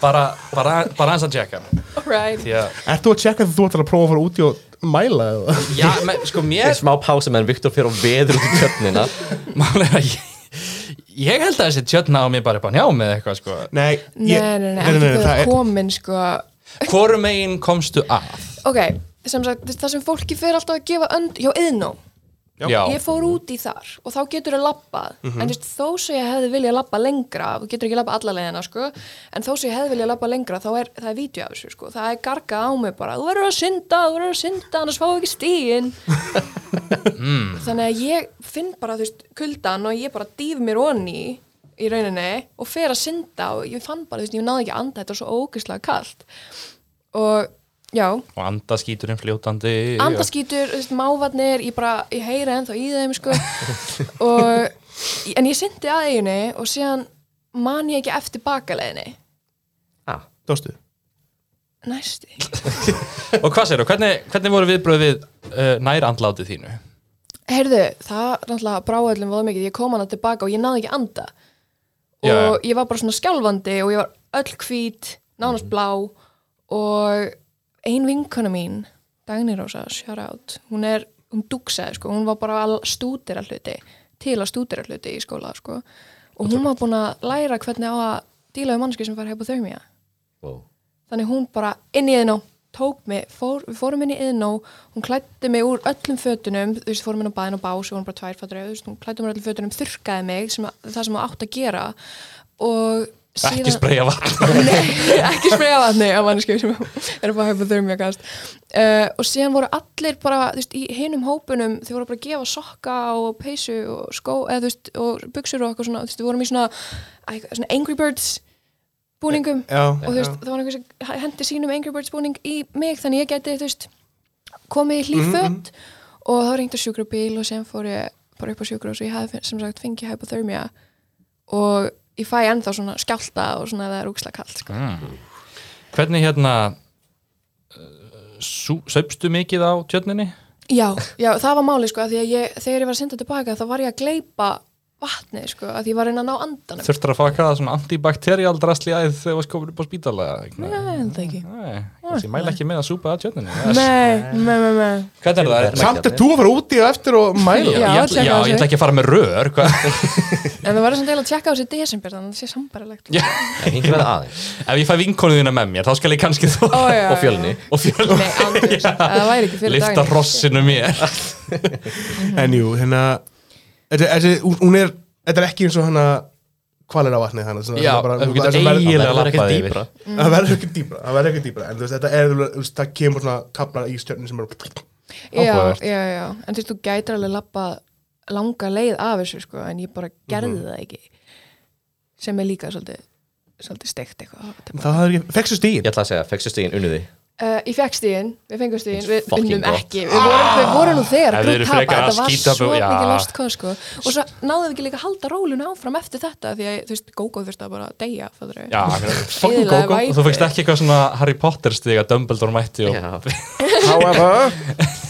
[SPEAKER 2] Bara, bara, bara hans að tjekka
[SPEAKER 4] Alright.
[SPEAKER 2] Því að,
[SPEAKER 1] Ert þú að tjekka þegar þú ætlar að prófa að fara út í og mæla eða?
[SPEAKER 2] já, men, sko
[SPEAKER 3] Ég
[SPEAKER 2] mér
[SPEAKER 3] smá pása meðan Viktor fyrir og veður út í tjörnina
[SPEAKER 2] Mál er að ég, ég held að þessi tjörna á mér bara upp á njá með eitthvað sko
[SPEAKER 1] Nei,
[SPEAKER 4] Nei, nei, nei, ekki
[SPEAKER 1] það
[SPEAKER 4] þegar
[SPEAKER 1] er,
[SPEAKER 4] komin sko
[SPEAKER 2] Hvorum megin komstu að?
[SPEAKER 4] Ok, sem sagt, það sem fólki fyrir alltaf að gefa önd, já, yðnó,
[SPEAKER 1] Já.
[SPEAKER 2] Já,
[SPEAKER 4] ég fór út í þar og þá getur þau labbað, en þú veist, þó sem ég hefði viljað labba lengra, þú getur ekki labba alla leiðina, sko, en þó sem ég hefði viljað labba lengra, þá er, það er vídeo af þessu, sko, það er garga á mig bara, þú verður að synda, þú verður að synda, annars fá ekki stíin. Þannig að ég finn bara, þú veist, kuldan og ég bara dýf mér onni í rauninni og fer að synda og ég fann bara, þú veist, ég náði ekki að anda, þetta var svo ógeðslega kalt. Og, já,
[SPEAKER 2] og andaskíturinn fljótandi
[SPEAKER 4] andaskítur, þú veist, mávarnir ég bara, ég heyra ennþá í þeim sko. og en ég syndi að eiginu og síðan man ég ekki eftir bakaleginni
[SPEAKER 3] ah,
[SPEAKER 1] Dóstu?
[SPEAKER 4] næsti
[SPEAKER 2] Og hvað segir þú, hvernig, hvernig voru viðbröð við uh, nærandlátið þínu?
[SPEAKER 4] heyrðu, það náttúrulega brá öllum voða mikið, ég kom hana tilbaka og ég náði ekki að anda
[SPEAKER 2] Já, já.
[SPEAKER 4] og ég var bara svona skjálfandi og ég var öll hvít,
[SPEAKER 2] Mhm.
[SPEAKER 4] nánast blá og ein vinkona mín Dagný Rósa, shout out hún er, hún dugsaði sko hún var bara að stúdera hluti til að stúdera hluti í skóla sko og hún var búin að læra hvernig á að díla við mannski sem fær hypothermia
[SPEAKER 3] wow.
[SPEAKER 4] þannig hún bara inn í Iðnó tók mig, fór, við fórum inn í Iðnó hún klætti mig úr öllum fötunum þú veist, fórum inn á bæðin og bás og hún bara tvær fattur þú veist, hún klætti mig úr öllum fötunum, þurrkaði mig sem að, það sem hún átt að gera og síðan
[SPEAKER 2] Ekki spreja vatn
[SPEAKER 4] Nei, ekki spreyja vatni á manneskju sem er bara að hafa þau mjög gast uh, og síðan voru allir bara þú veist, í hinum hópunum, þau voru bara að gefa sokka og peysu og skó eða, þú veist, og buksur og eitthvað svona, þú veist, við vorum í svona, æ, svona Angry Birds búningum
[SPEAKER 1] Já,
[SPEAKER 4] og þú veist, það var einhver sem hendi sínum Angry Birds búning í mig þannig ég geti, þú veist komið í hlýföt og þá ringdi sjúkrabíl og sem fór ég bara upp á sjúkrabíl og ég hafði sem sagt fengið hypothermia og ég fæ ennþá svona skjálta og svona ef það er úksla kallt sko.
[SPEAKER 2] Mm. Hvernig hérna uh, sú- saupstu mikið á tjörninni?
[SPEAKER 4] Já, já, það var máli sko að því að ég, þegar ég var að synda tilbaka þá var ég að gleypa vatnið sko að því ég var að reyna að ná andanum
[SPEAKER 2] Þurftur að faka það svona antibakterial drasli æð þegar þú varst komin upp á spítala eða eitthvað?
[SPEAKER 4] Nei, en það ekki
[SPEAKER 2] Nei, kannski ég mæla ekki með að súpa að tjörninni
[SPEAKER 4] Nei, nei, nei, nei
[SPEAKER 2] Hvernig er það?
[SPEAKER 1] Samt er þú að fara úti og eftir og mæla
[SPEAKER 4] Já,
[SPEAKER 2] ég, ætla-
[SPEAKER 4] tjekka
[SPEAKER 2] já,
[SPEAKER 4] á
[SPEAKER 2] ég
[SPEAKER 4] sig.
[SPEAKER 2] ætla ekki að fara með rör hvað?
[SPEAKER 4] En það var samt eiginlega að tjekka á sér desember þannig að það sé sambaralegt
[SPEAKER 2] Já.
[SPEAKER 3] en hingað verða aðeins
[SPEAKER 2] Ef ég fæ vinkonu þína með mér, þá skal ég kannski þú
[SPEAKER 4] Ó, já, já.
[SPEAKER 3] og fjölni
[SPEAKER 2] og fjöl
[SPEAKER 4] Nei, andrið, það væri ekki fyrir
[SPEAKER 2] Lifta
[SPEAKER 4] daginn
[SPEAKER 2] rossinu mér
[SPEAKER 1] En jú, hérna Þetta þetta- hún- hún er, þetta er ekki eins og hana Hvalir á vatni þannig svona-
[SPEAKER 2] Já,
[SPEAKER 1] þetta er bara-
[SPEAKER 2] ef þú getur
[SPEAKER 1] það verður-
[SPEAKER 2] eiginlega
[SPEAKER 3] það verður ekkert
[SPEAKER 2] labbaði
[SPEAKER 3] dýpra.
[SPEAKER 2] yfir.
[SPEAKER 1] það verður ekki dýbra, það verður ekki dýbra en þú veist, þetta er, þú veist, það kemur svona kaplar í stjörnum sem eru
[SPEAKER 4] Já,
[SPEAKER 2] Áhugavert.
[SPEAKER 4] já, já, en þú veist, þú gætir alveg lappa langa leið af þessu sko en ég bara gerði
[SPEAKER 2] Mhm.
[SPEAKER 4] það ekki sem er líka svolítið svolítið steikt eitthvað að hafa tilbaka.
[SPEAKER 1] það hafði ekki, fekstu stíin
[SPEAKER 3] ég ætla að segja, fekstu stíðin unnu því
[SPEAKER 4] Uh, ég fekk stíðin, við fengum stíðin, við
[SPEAKER 3] Fucking
[SPEAKER 4] vinnum
[SPEAKER 3] gott.
[SPEAKER 4] ekki, við vorum, við vorum nú þegar
[SPEAKER 2] Ah. Ef
[SPEAKER 4] að
[SPEAKER 2] þið eru
[SPEAKER 4] grútt tapa,
[SPEAKER 2] frekar að
[SPEAKER 4] þetta var
[SPEAKER 2] skíta
[SPEAKER 4] svo
[SPEAKER 2] upp- já.
[SPEAKER 4] mikið lost cause sko. og svo náðum við ekki líka að halda rólun áfram eftir þetta því að, þú veist, Gógó þurfti að bara deyja, fattur við.
[SPEAKER 2] Já, fucking
[SPEAKER 4] Eyðilega
[SPEAKER 2] gógó
[SPEAKER 4] væpið.
[SPEAKER 2] Þú fegst ekki eitthvað svona Harry Potter stig að Dumbledore mætti og
[SPEAKER 1] however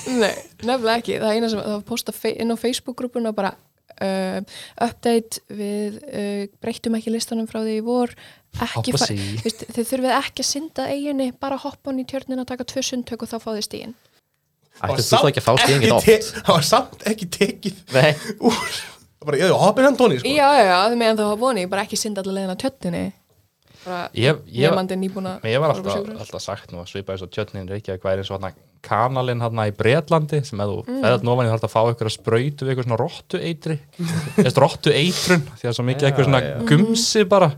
[SPEAKER 4] Nei, nefnilega ekki, það er eina sem, það var posta fe- inn á Facebook-grúpuna bara uh, update, við uh, breyttum ekki listanum frá því í vor, ekki,
[SPEAKER 2] Hoppa
[SPEAKER 4] fa-
[SPEAKER 2] sí.
[SPEAKER 4] þú veist, þið þurfið ekki að synda eiginni, bara hoppa hann í tjörnina, taka tvö sundtök og þá fá þið stíðin.
[SPEAKER 3] ættu þú þá ekki að fá stíðin ekki oft
[SPEAKER 1] það var samt ekki tekið
[SPEAKER 3] Nei.
[SPEAKER 1] úr það bara, ég hoppið hann tóni sko.
[SPEAKER 4] Já, já, já, það meðan þá var voni, bara ekki synda allar leiðin á tjörninni. Bara,
[SPEAKER 2] Ég, ég,
[SPEAKER 4] Ég mandi nýbúna
[SPEAKER 2] ég var alltaf, alltaf sagt nú að svipa eins og tjörnin Reykjavík væri eins og hann kanalinn hann í Bretlandi sem eða þú mm. feðat nóvan ég þarf að fá ykkur að sprautu við ykkur svona rottu eitri eða rottu eitrun því að svo mikið eitthvað svona gumsi bara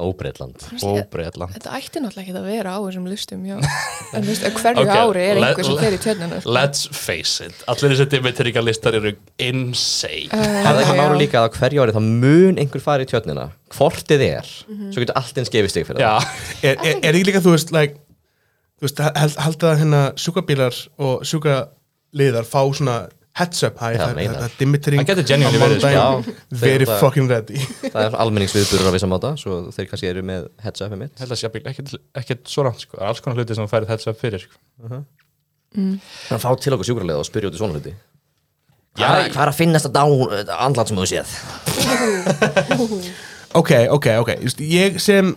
[SPEAKER 3] óbreitland
[SPEAKER 2] og Bretland
[SPEAKER 4] Þetta ætti náttúrulega ekki að vera á þessum listum, já. en þú veist, á hverju ári er
[SPEAKER 2] let-
[SPEAKER 4] einhver sem
[SPEAKER 2] let-
[SPEAKER 4] fer í tjörnina. sko.
[SPEAKER 2] Let's face it, allir þessi dimmityrika listar eru insane
[SPEAKER 3] það er
[SPEAKER 4] já.
[SPEAKER 3] máru líka að á hverju ári þá mun einhver fara í tjörnina hvort þið er
[SPEAKER 4] Mhm.
[SPEAKER 3] svo getur allt eins gefið stig fyrir
[SPEAKER 2] Já,
[SPEAKER 1] er, er, er ekki líka, þú veist, like, þú veist held, held að hérna sjúkrabílar og sjúkraliðar fá svona heads up, hæ,
[SPEAKER 3] Já,
[SPEAKER 1] það-
[SPEAKER 3] meinar.
[SPEAKER 1] þetta dimmitring
[SPEAKER 2] Það gæti genuinely verið, sko.
[SPEAKER 3] Já,
[SPEAKER 1] very
[SPEAKER 3] þeir- það-
[SPEAKER 1] fucking ready
[SPEAKER 3] það það er almenningsviðburur á vissan máta svo þeir kannski eru með heads um upið mitt
[SPEAKER 2] held að sé jafnvel ekkert, ekkert svo rangt sko. Það er alls konar hluti sem þú færið þetta upp fyrir sko.
[SPEAKER 3] þannig að fá til okkur sjúkrarlega og spyrja út í svona hluti hvað er- hvað er að finnast að dá andlat sem þú séð
[SPEAKER 1] ok, ok, ok, Just, ég sem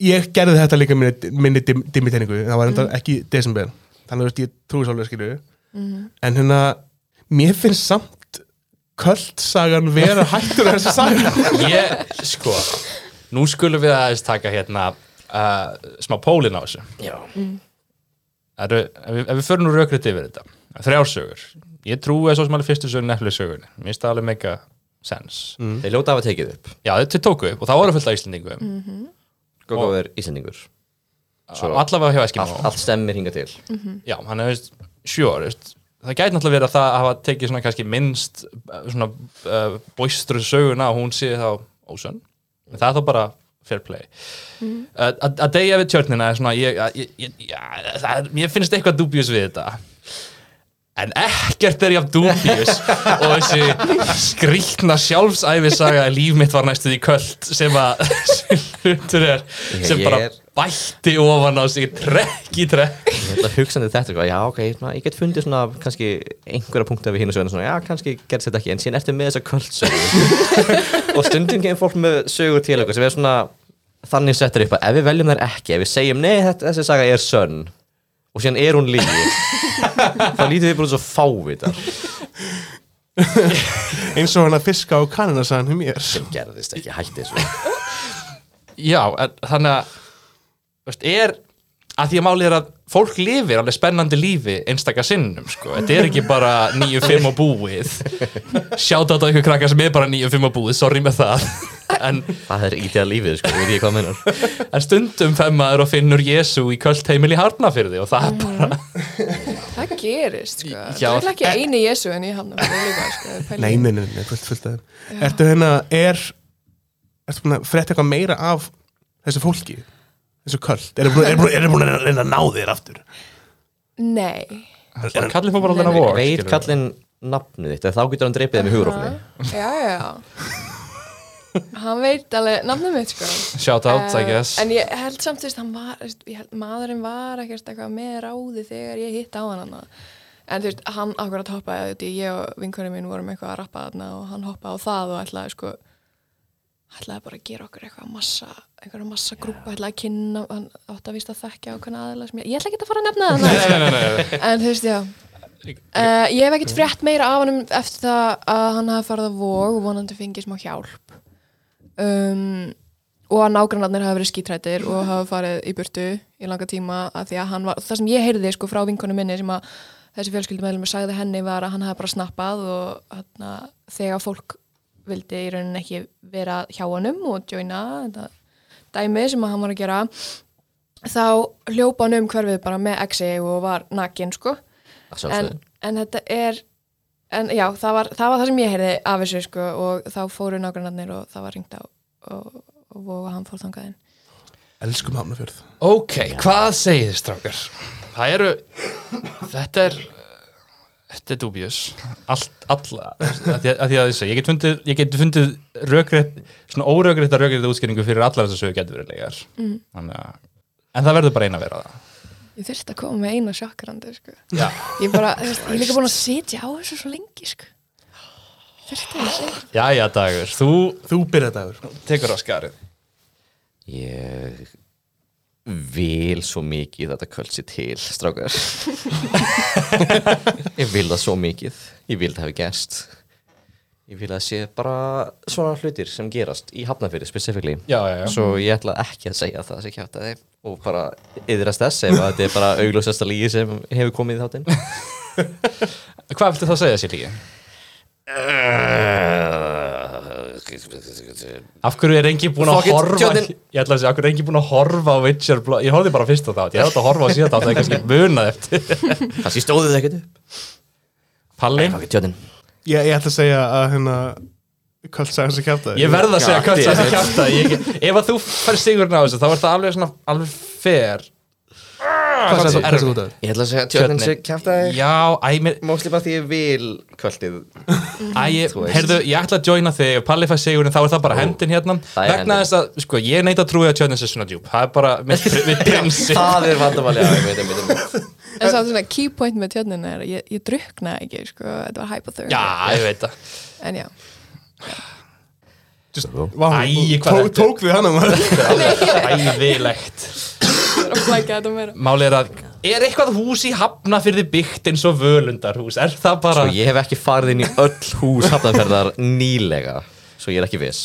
[SPEAKER 1] ég gerði þetta líka minni, minni dim, dimmiteiningu, það var enda ekki desember, þannig að þú veist, ég trúi svolítið skilju en hérna mér finnst samt kvöldsagan vera hættur að þessi saga
[SPEAKER 2] Ég, sko Nú skulum við aðeins taka hérna uh, smá pólinn á þessu
[SPEAKER 3] já
[SPEAKER 4] Mhm.
[SPEAKER 2] Það eru, ef, við, ef við förum nú rökrið yfir þetta Þrjársögur Ég trúi að svo sem alveg fyrstu sögur nefnileg sögunni Mér finnst það alveg mega sens
[SPEAKER 3] þeir ljóta af að tekið upp
[SPEAKER 2] Já, þetta tóku upp og það voru fullt af Íslendingum
[SPEAKER 3] Gogo er Íslandingur
[SPEAKER 2] Svo- Allavega hjá Eskimo
[SPEAKER 3] allt, allt stemmir hinga til
[SPEAKER 2] Já, hann er, veist, sure, veist, það gæti náttúrulega verið að það hafa tekið svona kannski minnst eh, svona uh, bóistru söguna og hún sé þá ósönn, en það er þá bara fair play. Mm. að að deyja við tjörnina er svona, ég, að- ég, ég, já, það er, mér finnst eitthvað dubjus við þetta. en ekkert er jafn dúbíus og þessi skrýtna sjálfsæfisaga að líf mitt var næstuð í köld sem að sem hlutur er sem
[SPEAKER 3] Ég
[SPEAKER 2] bara
[SPEAKER 3] er-
[SPEAKER 2] bætti ofan á sig trekk í trekk
[SPEAKER 3] Ég held að hugsa um þetta eitthvað, já ok, svona, ég get fundið svona kannski einhverja punkta við hinn og söguna svona, já kannski gerðs þetta ekki, en síðan ertu með þessa kvöldsögur og stundum kemur fólk með sögur til okkar sem er svona þannig settur upp að ef við veljum þær ekki, ef við segjum nei þetta, þessi saga er sönn og síðan er hún lígi þá lítið við bara svo fávitar
[SPEAKER 1] eins og hann að fiska á kanina sagðan hjá mér
[SPEAKER 3] gerðist ekki, hætti þessu
[SPEAKER 2] Já, en, þannig að þú veist, er að því að málið er að fólk lifir alveg spennandi lífi einstaka sinnum, sko, þetta er ekki bara 9-5 og búið sjátt á ykkur krakkar sem er bara 9-5 og búið sorry með það en,
[SPEAKER 3] það er ítið að lífið, sko, veit ég hvað mennur
[SPEAKER 2] en stundum femmaður og finnur Jésu í kvöld heimil í harnafyrði og það er bara
[SPEAKER 4] Það gerist, sko.
[SPEAKER 2] Já.
[SPEAKER 4] það er ekki eini Jésu en ég hann líka, sko. pæli.
[SPEAKER 1] nei, nei, nei, nei, fullt, fullt af þeim ertu hérna, er ertu búin að frétta eitthvað meira af þessu fólki þessu köld, eru búin, er búin, er búin að reyna að ná þér aftur
[SPEAKER 4] Nei. Mm.
[SPEAKER 2] kallið fór bara alveg að vor
[SPEAKER 3] veit
[SPEAKER 2] skilurðu.
[SPEAKER 3] kallinn nafnið þitt, eða þá getur hann dreipið þeim í hugurofni
[SPEAKER 4] Já, já, já. Hann veit alveg nafnum mitt, sko.
[SPEAKER 2] shout out, I
[SPEAKER 4] Eh,
[SPEAKER 2] guess
[SPEAKER 4] En ég held samt, þú veist, hann var, þú veist, ég held, maðurinn var ekkert eitthvað með ráði þegar ég hitt á hann hana. En þú veist, hann akkur að hoppa, ég og vinkurinn mín vorum eitthvað að rappa þarna og hann hoppaði á það og ætlaði sko, ætlaði bara að gera okkur eitthvað massa, einhverja massa grúpa, ætlaði að kynna, hann átti að víst að þekkja okkur aðeila sem ég, ég ætla ekki að fara að nefna það.
[SPEAKER 2] Nei, nei, nei, nei, nei.
[SPEAKER 4] En þú veist, já uh, Ég hef ekkert frétt meira af hann eftir það að hann hafi farið að vog og vonandi fengið smá hjálp um, og að nágrannarnir hafi verið skítrættir og hafi farið í burtu í langa tíma að því að hann var, það sem ég heyrði sko frá vinkonu minni sem að þessi fjölskyldumæðlum sagði henni var að hann hafi bara snappað og hana, þegar fólk vildi í rauninni ekki vera hjá honum og joina þetta dæmi sem að hann var að gera þá hljópa hann um hverfið bara með exi og var nakin sko en, en þetta er en já, það var, það var það sem ég heyrði af þessu sko og þá fóru nágrannarnir og það var ringt á og, og, og hann fór þangaðin
[SPEAKER 1] elskum hafnafjörð
[SPEAKER 2] ok, hvað segir þið strákar það eru þetta er þetta er dubjus allt, alla, að því að, að, því að ég segi ég get fundið, ég get fundið rökrétt svona órökrétta rökrétta útskýringu fyrir allar þessar sögur getur verið legar mm. en það verður bara eina að vera það
[SPEAKER 4] ég þurfti að koma með eina sjokkrandi sko
[SPEAKER 2] Já.
[SPEAKER 4] ég bara, þú veist, ég er líka búin að sitja á þessu svo lengi sko þurfti að segja
[SPEAKER 2] Jæja dagur, þú
[SPEAKER 1] þú byrja dagur
[SPEAKER 2] tekur á skarið
[SPEAKER 3] Ég vil svo mikið að þetta kvöld sér til, strákar. ég vil það svo mikið. Ég vil það hafi gerst. Ég vil að það sé bara svona hlutir sem gerast í hafnafyrir spesifikli.
[SPEAKER 2] Já, já, já.
[SPEAKER 3] Svo ég ætla ekki að segja að það sem kjátt að þeim og bara yðrast þess ef að þetta er bara augljósasta lígi sem hefur komið í þáttinn.
[SPEAKER 2] Hvað viltu þá segja sér líka? Af hverju er enginn búinn
[SPEAKER 3] Fuck
[SPEAKER 2] að
[SPEAKER 3] it,
[SPEAKER 2] horfa
[SPEAKER 3] Jordan.
[SPEAKER 2] Ég ætla að segja, af hverju er enginn búinn að horfa á Witcher Blo- Ég horfði bara fyrst á þátt, ég ætla að horfa á síðan þátt Það er kannski munað eftir
[SPEAKER 3] Kanski stóðu þið ekkert upp.
[SPEAKER 2] Palli,
[SPEAKER 3] Fuck it, Jónin.
[SPEAKER 1] ég, ég ætla að segja að hérna köld sagði sem kjáta
[SPEAKER 2] ég verð að segja
[SPEAKER 3] God
[SPEAKER 2] hvað
[SPEAKER 3] damn
[SPEAKER 2] það
[SPEAKER 3] it.
[SPEAKER 2] kjarta ég, Ef að þú fær sigurinn á þessu, þá er það alveg svona alveg fair
[SPEAKER 1] hvað
[SPEAKER 2] hvað
[SPEAKER 1] sagði
[SPEAKER 2] sagði-
[SPEAKER 1] þú dagur
[SPEAKER 3] Ég ætla að segja að tjóðin
[SPEAKER 2] Tjörnin.
[SPEAKER 3] sé kjátt að þið.
[SPEAKER 2] Já, æ, mér,
[SPEAKER 3] Mósli bara því ég vil kvöldið
[SPEAKER 2] Æ, ég-
[SPEAKER 3] veist.
[SPEAKER 2] heyrðu, ég ætla að joina þig og Palli fær sigurinn, þá er það bara hendin hérna
[SPEAKER 3] það er
[SPEAKER 2] vegna
[SPEAKER 3] hendin.
[SPEAKER 2] þess að, sko, ég neita að trúi að tjörnins er svona djúb, það er bara mitt, mitt prinsip
[SPEAKER 3] Það er vandamáli, já, ég veit, ég veit, ég veit.
[SPEAKER 4] en samt svona key point með tjörnina er að ég, ég drukna ekki sko, þetta var hypothermia
[SPEAKER 2] Já, ég veit það
[SPEAKER 4] en já,
[SPEAKER 2] Æi, hvað
[SPEAKER 1] tók,
[SPEAKER 2] þetta-
[SPEAKER 1] tók þið hann maður
[SPEAKER 2] Æðilegt
[SPEAKER 4] það er að flækja þetta meira
[SPEAKER 2] Málið er að, er eitthvað hús í hafna fyrir þið byggt eins og völundarhús? Er það bara,
[SPEAKER 3] Sko, ég hef ekki farið inn í öll hús hafnaferðar nýlega, svo ég er ekki viss.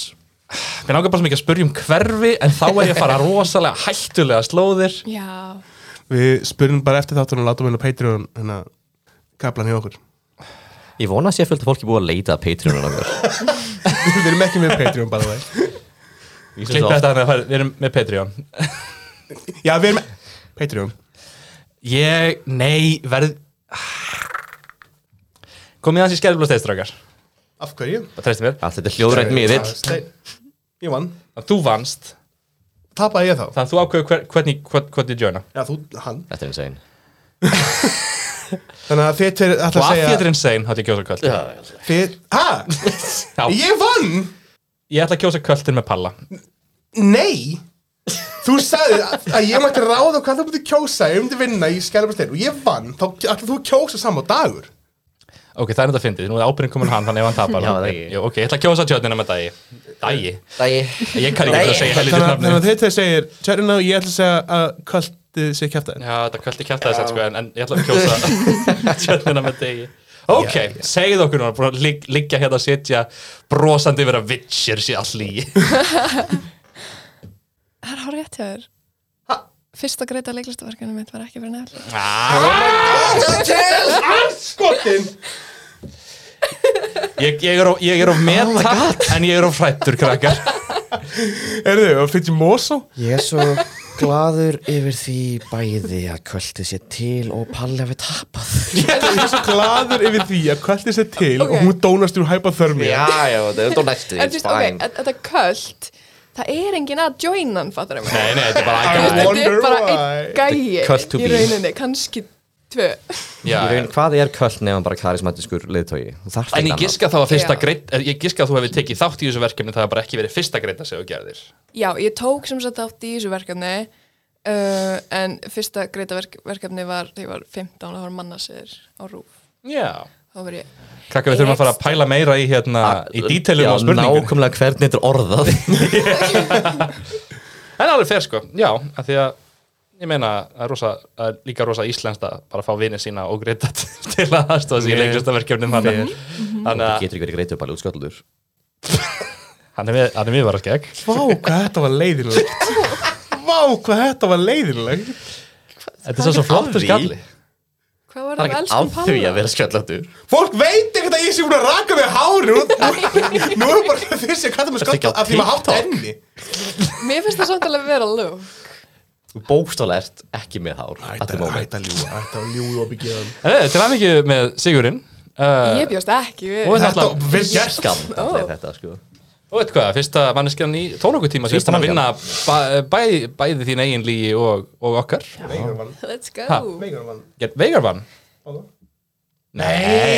[SPEAKER 2] mér langar bara sem ekki að spurja um hverfi En þá er ég að fara rosalega hættulega slóðir
[SPEAKER 4] já,
[SPEAKER 1] við spurðum bara eftir þáttunum og látum henni á Patreon hérna kaplan hjá okkur
[SPEAKER 3] Ég vona að sé fullt af fólki búið að leita að Patreon og okkur.
[SPEAKER 1] við erum ekki með Patreon bara það
[SPEAKER 2] Klippa þetta þannig að fara- við erum með Patreon
[SPEAKER 1] já, við erum Patreon
[SPEAKER 2] Ég, nei, verð Komið hans í skerðblóð steistrákar
[SPEAKER 1] af hverju?
[SPEAKER 2] Það treysti mér
[SPEAKER 3] Allt þetta er hljóðrætt miðill.
[SPEAKER 1] Steinn. ég vann
[SPEAKER 2] að Þú vannst,
[SPEAKER 1] tapaði ég þá
[SPEAKER 2] þannig að þú ákveður hver, hvernig, hvernig, hvernig joina
[SPEAKER 1] já, þú, hann
[SPEAKER 3] Þetta er eins og einn.
[SPEAKER 1] Þannig að þið tveir ætla
[SPEAKER 2] Og
[SPEAKER 1] að
[SPEAKER 2] að
[SPEAKER 1] segja
[SPEAKER 2] því þetta er insane, hætti ég að kjósa kvöld
[SPEAKER 3] Já,
[SPEAKER 1] þið, Hæ?
[SPEAKER 2] Já,
[SPEAKER 1] Ég vann?
[SPEAKER 2] ég ætla að kjósa kvöldin með palla
[SPEAKER 1] Nei Þú sagði að ég mætti ráða hvað þú myndi kjósa ef Ég myndi vinna í skælabrastein og ég vann Þá ætla þú að kjósa saman á dagur
[SPEAKER 2] Ok, það er þetta að fyndið, nú er ábyrðin komin á hann, þannig ef hann tapar
[SPEAKER 3] Já, það er ég.
[SPEAKER 2] Jú, Ok, ég ætla að kjósa tjörnina með dagi Dagi,
[SPEAKER 3] Dæi
[SPEAKER 2] ég kann ekki
[SPEAKER 3] Nei.
[SPEAKER 2] að segja það lítið
[SPEAKER 1] Þannig að- þannig
[SPEAKER 2] nafni
[SPEAKER 1] að þið tveir segir Tjörnina og ég ætla að segja að kvöldið sé kjæftaðin
[SPEAKER 2] Já, þetta kvöldi kjartaði sér sko, en, en ég ætla að kjósa tjörnina með degi Ok, segið okkur núna, búin að ligg- liggja hérna að sitja brosandi yfir að vitsir sé all í
[SPEAKER 4] Það er hárið hjá þér. Fyrsta greita leiklistaverkinu mitt var ekki verið nefnilega.
[SPEAKER 1] Skotin
[SPEAKER 2] Ég, ég, er, of- ég er of meta, en ég er of hrættur, krakkar
[SPEAKER 1] Er þau, og fyrir Mosó?
[SPEAKER 5] Ég er svo gladur yfir því bæði að kvöldi sé til og Palli hafi tapað.
[SPEAKER 1] Ég er svo gladur yfir því að kvöldið sé til
[SPEAKER 4] Ok.
[SPEAKER 1] og hún dónast úr hypothermia
[SPEAKER 3] Já, já, þetta er þó næstu
[SPEAKER 4] En þú
[SPEAKER 3] It's
[SPEAKER 4] veist, ok,
[SPEAKER 3] fine
[SPEAKER 4] þe- þetta köld, það er engin að joinan, fattur ég mig.
[SPEAKER 2] Nei, nei, þetta er bara
[SPEAKER 1] I
[SPEAKER 2] aðgæða
[SPEAKER 4] Þetta
[SPEAKER 1] wonder
[SPEAKER 4] er bara
[SPEAKER 1] why.
[SPEAKER 4] einn gæi
[SPEAKER 3] cult to
[SPEAKER 4] í
[SPEAKER 3] be.
[SPEAKER 4] rauninni, kannski tvö.
[SPEAKER 2] Já,
[SPEAKER 3] Í raun, hvað er kvöld nefn bara karismatiskur liðtói? Þarf
[SPEAKER 2] En
[SPEAKER 3] ekki
[SPEAKER 2] ég
[SPEAKER 3] annað
[SPEAKER 2] giska þá að fyrsta
[SPEAKER 4] Já.
[SPEAKER 2] greit eh, Ég giska að þú hefur tekið þátt í þessu verkefni Það hefur bara ekki verið fyrsta greita sem þú gerðir
[SPEAKER 4] Já, ég tók sem sagt átt í þessu verkefni uh, en fyrsta greita verk verkefni var þegar ég var 15 og það var mannasir á rúf
[SPEAKER 2] Já
[SPEAKER 4] þá var ég,
[SPEAKER 2] Krakka við þurfum að fara að pæla meira í hérna Í dítelum
[SPEAKER 3] Já,
[SPEAKER 2] á spurningum
[SPEAKER 3] nákvæmlega hvernig þetta er orðað
[SPEAKER 2] En alveg fer sko Já, af því að Ég meina að rosa, að líka rosa íslenskt að bara fá vinið sína og greita til að aðstofa sig í
[SPEAKER 1] Mér.
[SPEAKER 2] leiklistaverkefnum hann er hann
[SPEAKER 3] Það
[SPEAKER 2] er
[SPEAKER 3] getur ekki verið greitur bara útskallur
[SPEAKER 2] hann er hann er mjög varað gegn
[SPEAKER 1] Vá, hvað þetta var leiðilegt Vá, hvað þetta var leiðilegt
[SPEAKER 2] þetta er svo svo flottur skalli
[SPEAKER 4] hvað var
[SPEAKER 3] Það er
[SPEAKER 4] það
[SPEAKER 3] ekki
[SPEAKER 4] með elskum
[SPEAKER 3] af því að
[SPEAKER 4] palla?
[SPEAKER 3] vera skallur
[SPEAKER 1] Fólk veit ekkert að ég sé búin að raka mig hári Nú, nú- nú er bara fyrst ég kallar mig
[SPEAKER 3] Ertu
[SPEAKER 1] skotta
[SPEAKER 3] ekki á
[SPEAKER 1] Af því maður hátt enni
[SPEAKER 4] Mér finnst það samt alveg að vera lúk
[SPEAKER 3] Þú bókstálega ert ekki með hár at the moment.
[SPEAKER 1] að ljúa, ætta að ljúa og byggja hann
[SPEAKER 2] En eh, til hann ekki með Sigurinn uh,
[SPEAKER 4] Ég bjóst ekki við
[SPEAKER 2] Og
[SPEAKER 1] Þetta
[SPEAKER 2] þetta
[SPEAKER 1] var vel gert
[SPEAKER 3] Skam, það er þetta sko
[SPEAKER 2] Og veit hvað, fyrsta manneskjan í þó nokkuð tíma sem er
[SPEAKER 3] Fyrsta
[SPEAKER 2] búin að vinna bæ, bæ, bæði þín eigin lígi og, og okkar
[SPEAKER 1] Veigar vann,
[SPEAKER 4] Let's go
[SPEAKER 2] Ha?
[SPEAKER 1] Veigar vann
[SPEAKER 2] Get Veigar vann
[SPEAKER 1] Nei,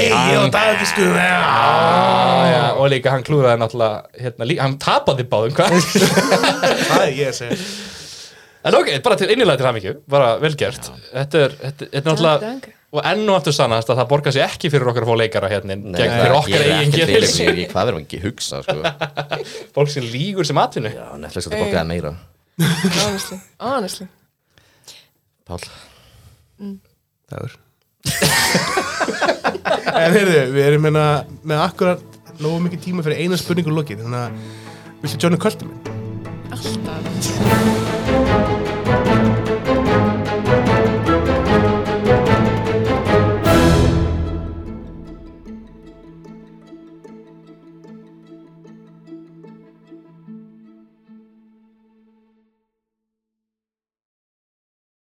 [SPEAKER 1] ég og Dagur skuðu
[SPEAKER 2] ja, og líka hann klúraði náttúrulega hérna, lí, hann tapaði báðum hvað
[SPEAKER 1] Það er ég að segja
[SPEAKER 2] en ok, bara til innilega til hamingju bara vel gert þetta er, þetta, þetta er náttúrulega
[SPEAKER 4] takk.
[SPEAKER 2] og enn og aftur sannast að það borgar sér ekki fyrir okkar að fá leikara hérna inn, gegn
[SPEAKER 3] það
[SPEAKER 2] fyrir okkar
[SPEAKER 3] gerir
[SPEAKER 2] eigin
[SPEAKER 3] ekkert fyrir
[SPEAKER 2] geðilsi
[SPEAKER 3] mig, ég- Hvað verðum ekki að hugsa sko Já,
[SPEAKER 2] fólk sem lígur sem atvinnu
[SPEAKER 3] Netflix þetta bókaði meira
[SPEAKER 4] Honestly, honestly
[SPEAKER 3] Pál
[SPEAKER 1] Dagur En heyrðu, við erum hérna með akkurat Nógu mikið tíma fyrir eina spurningu lokið Þannig að, viltu Johnny Költum?
[SPEAKER 4] Alltaf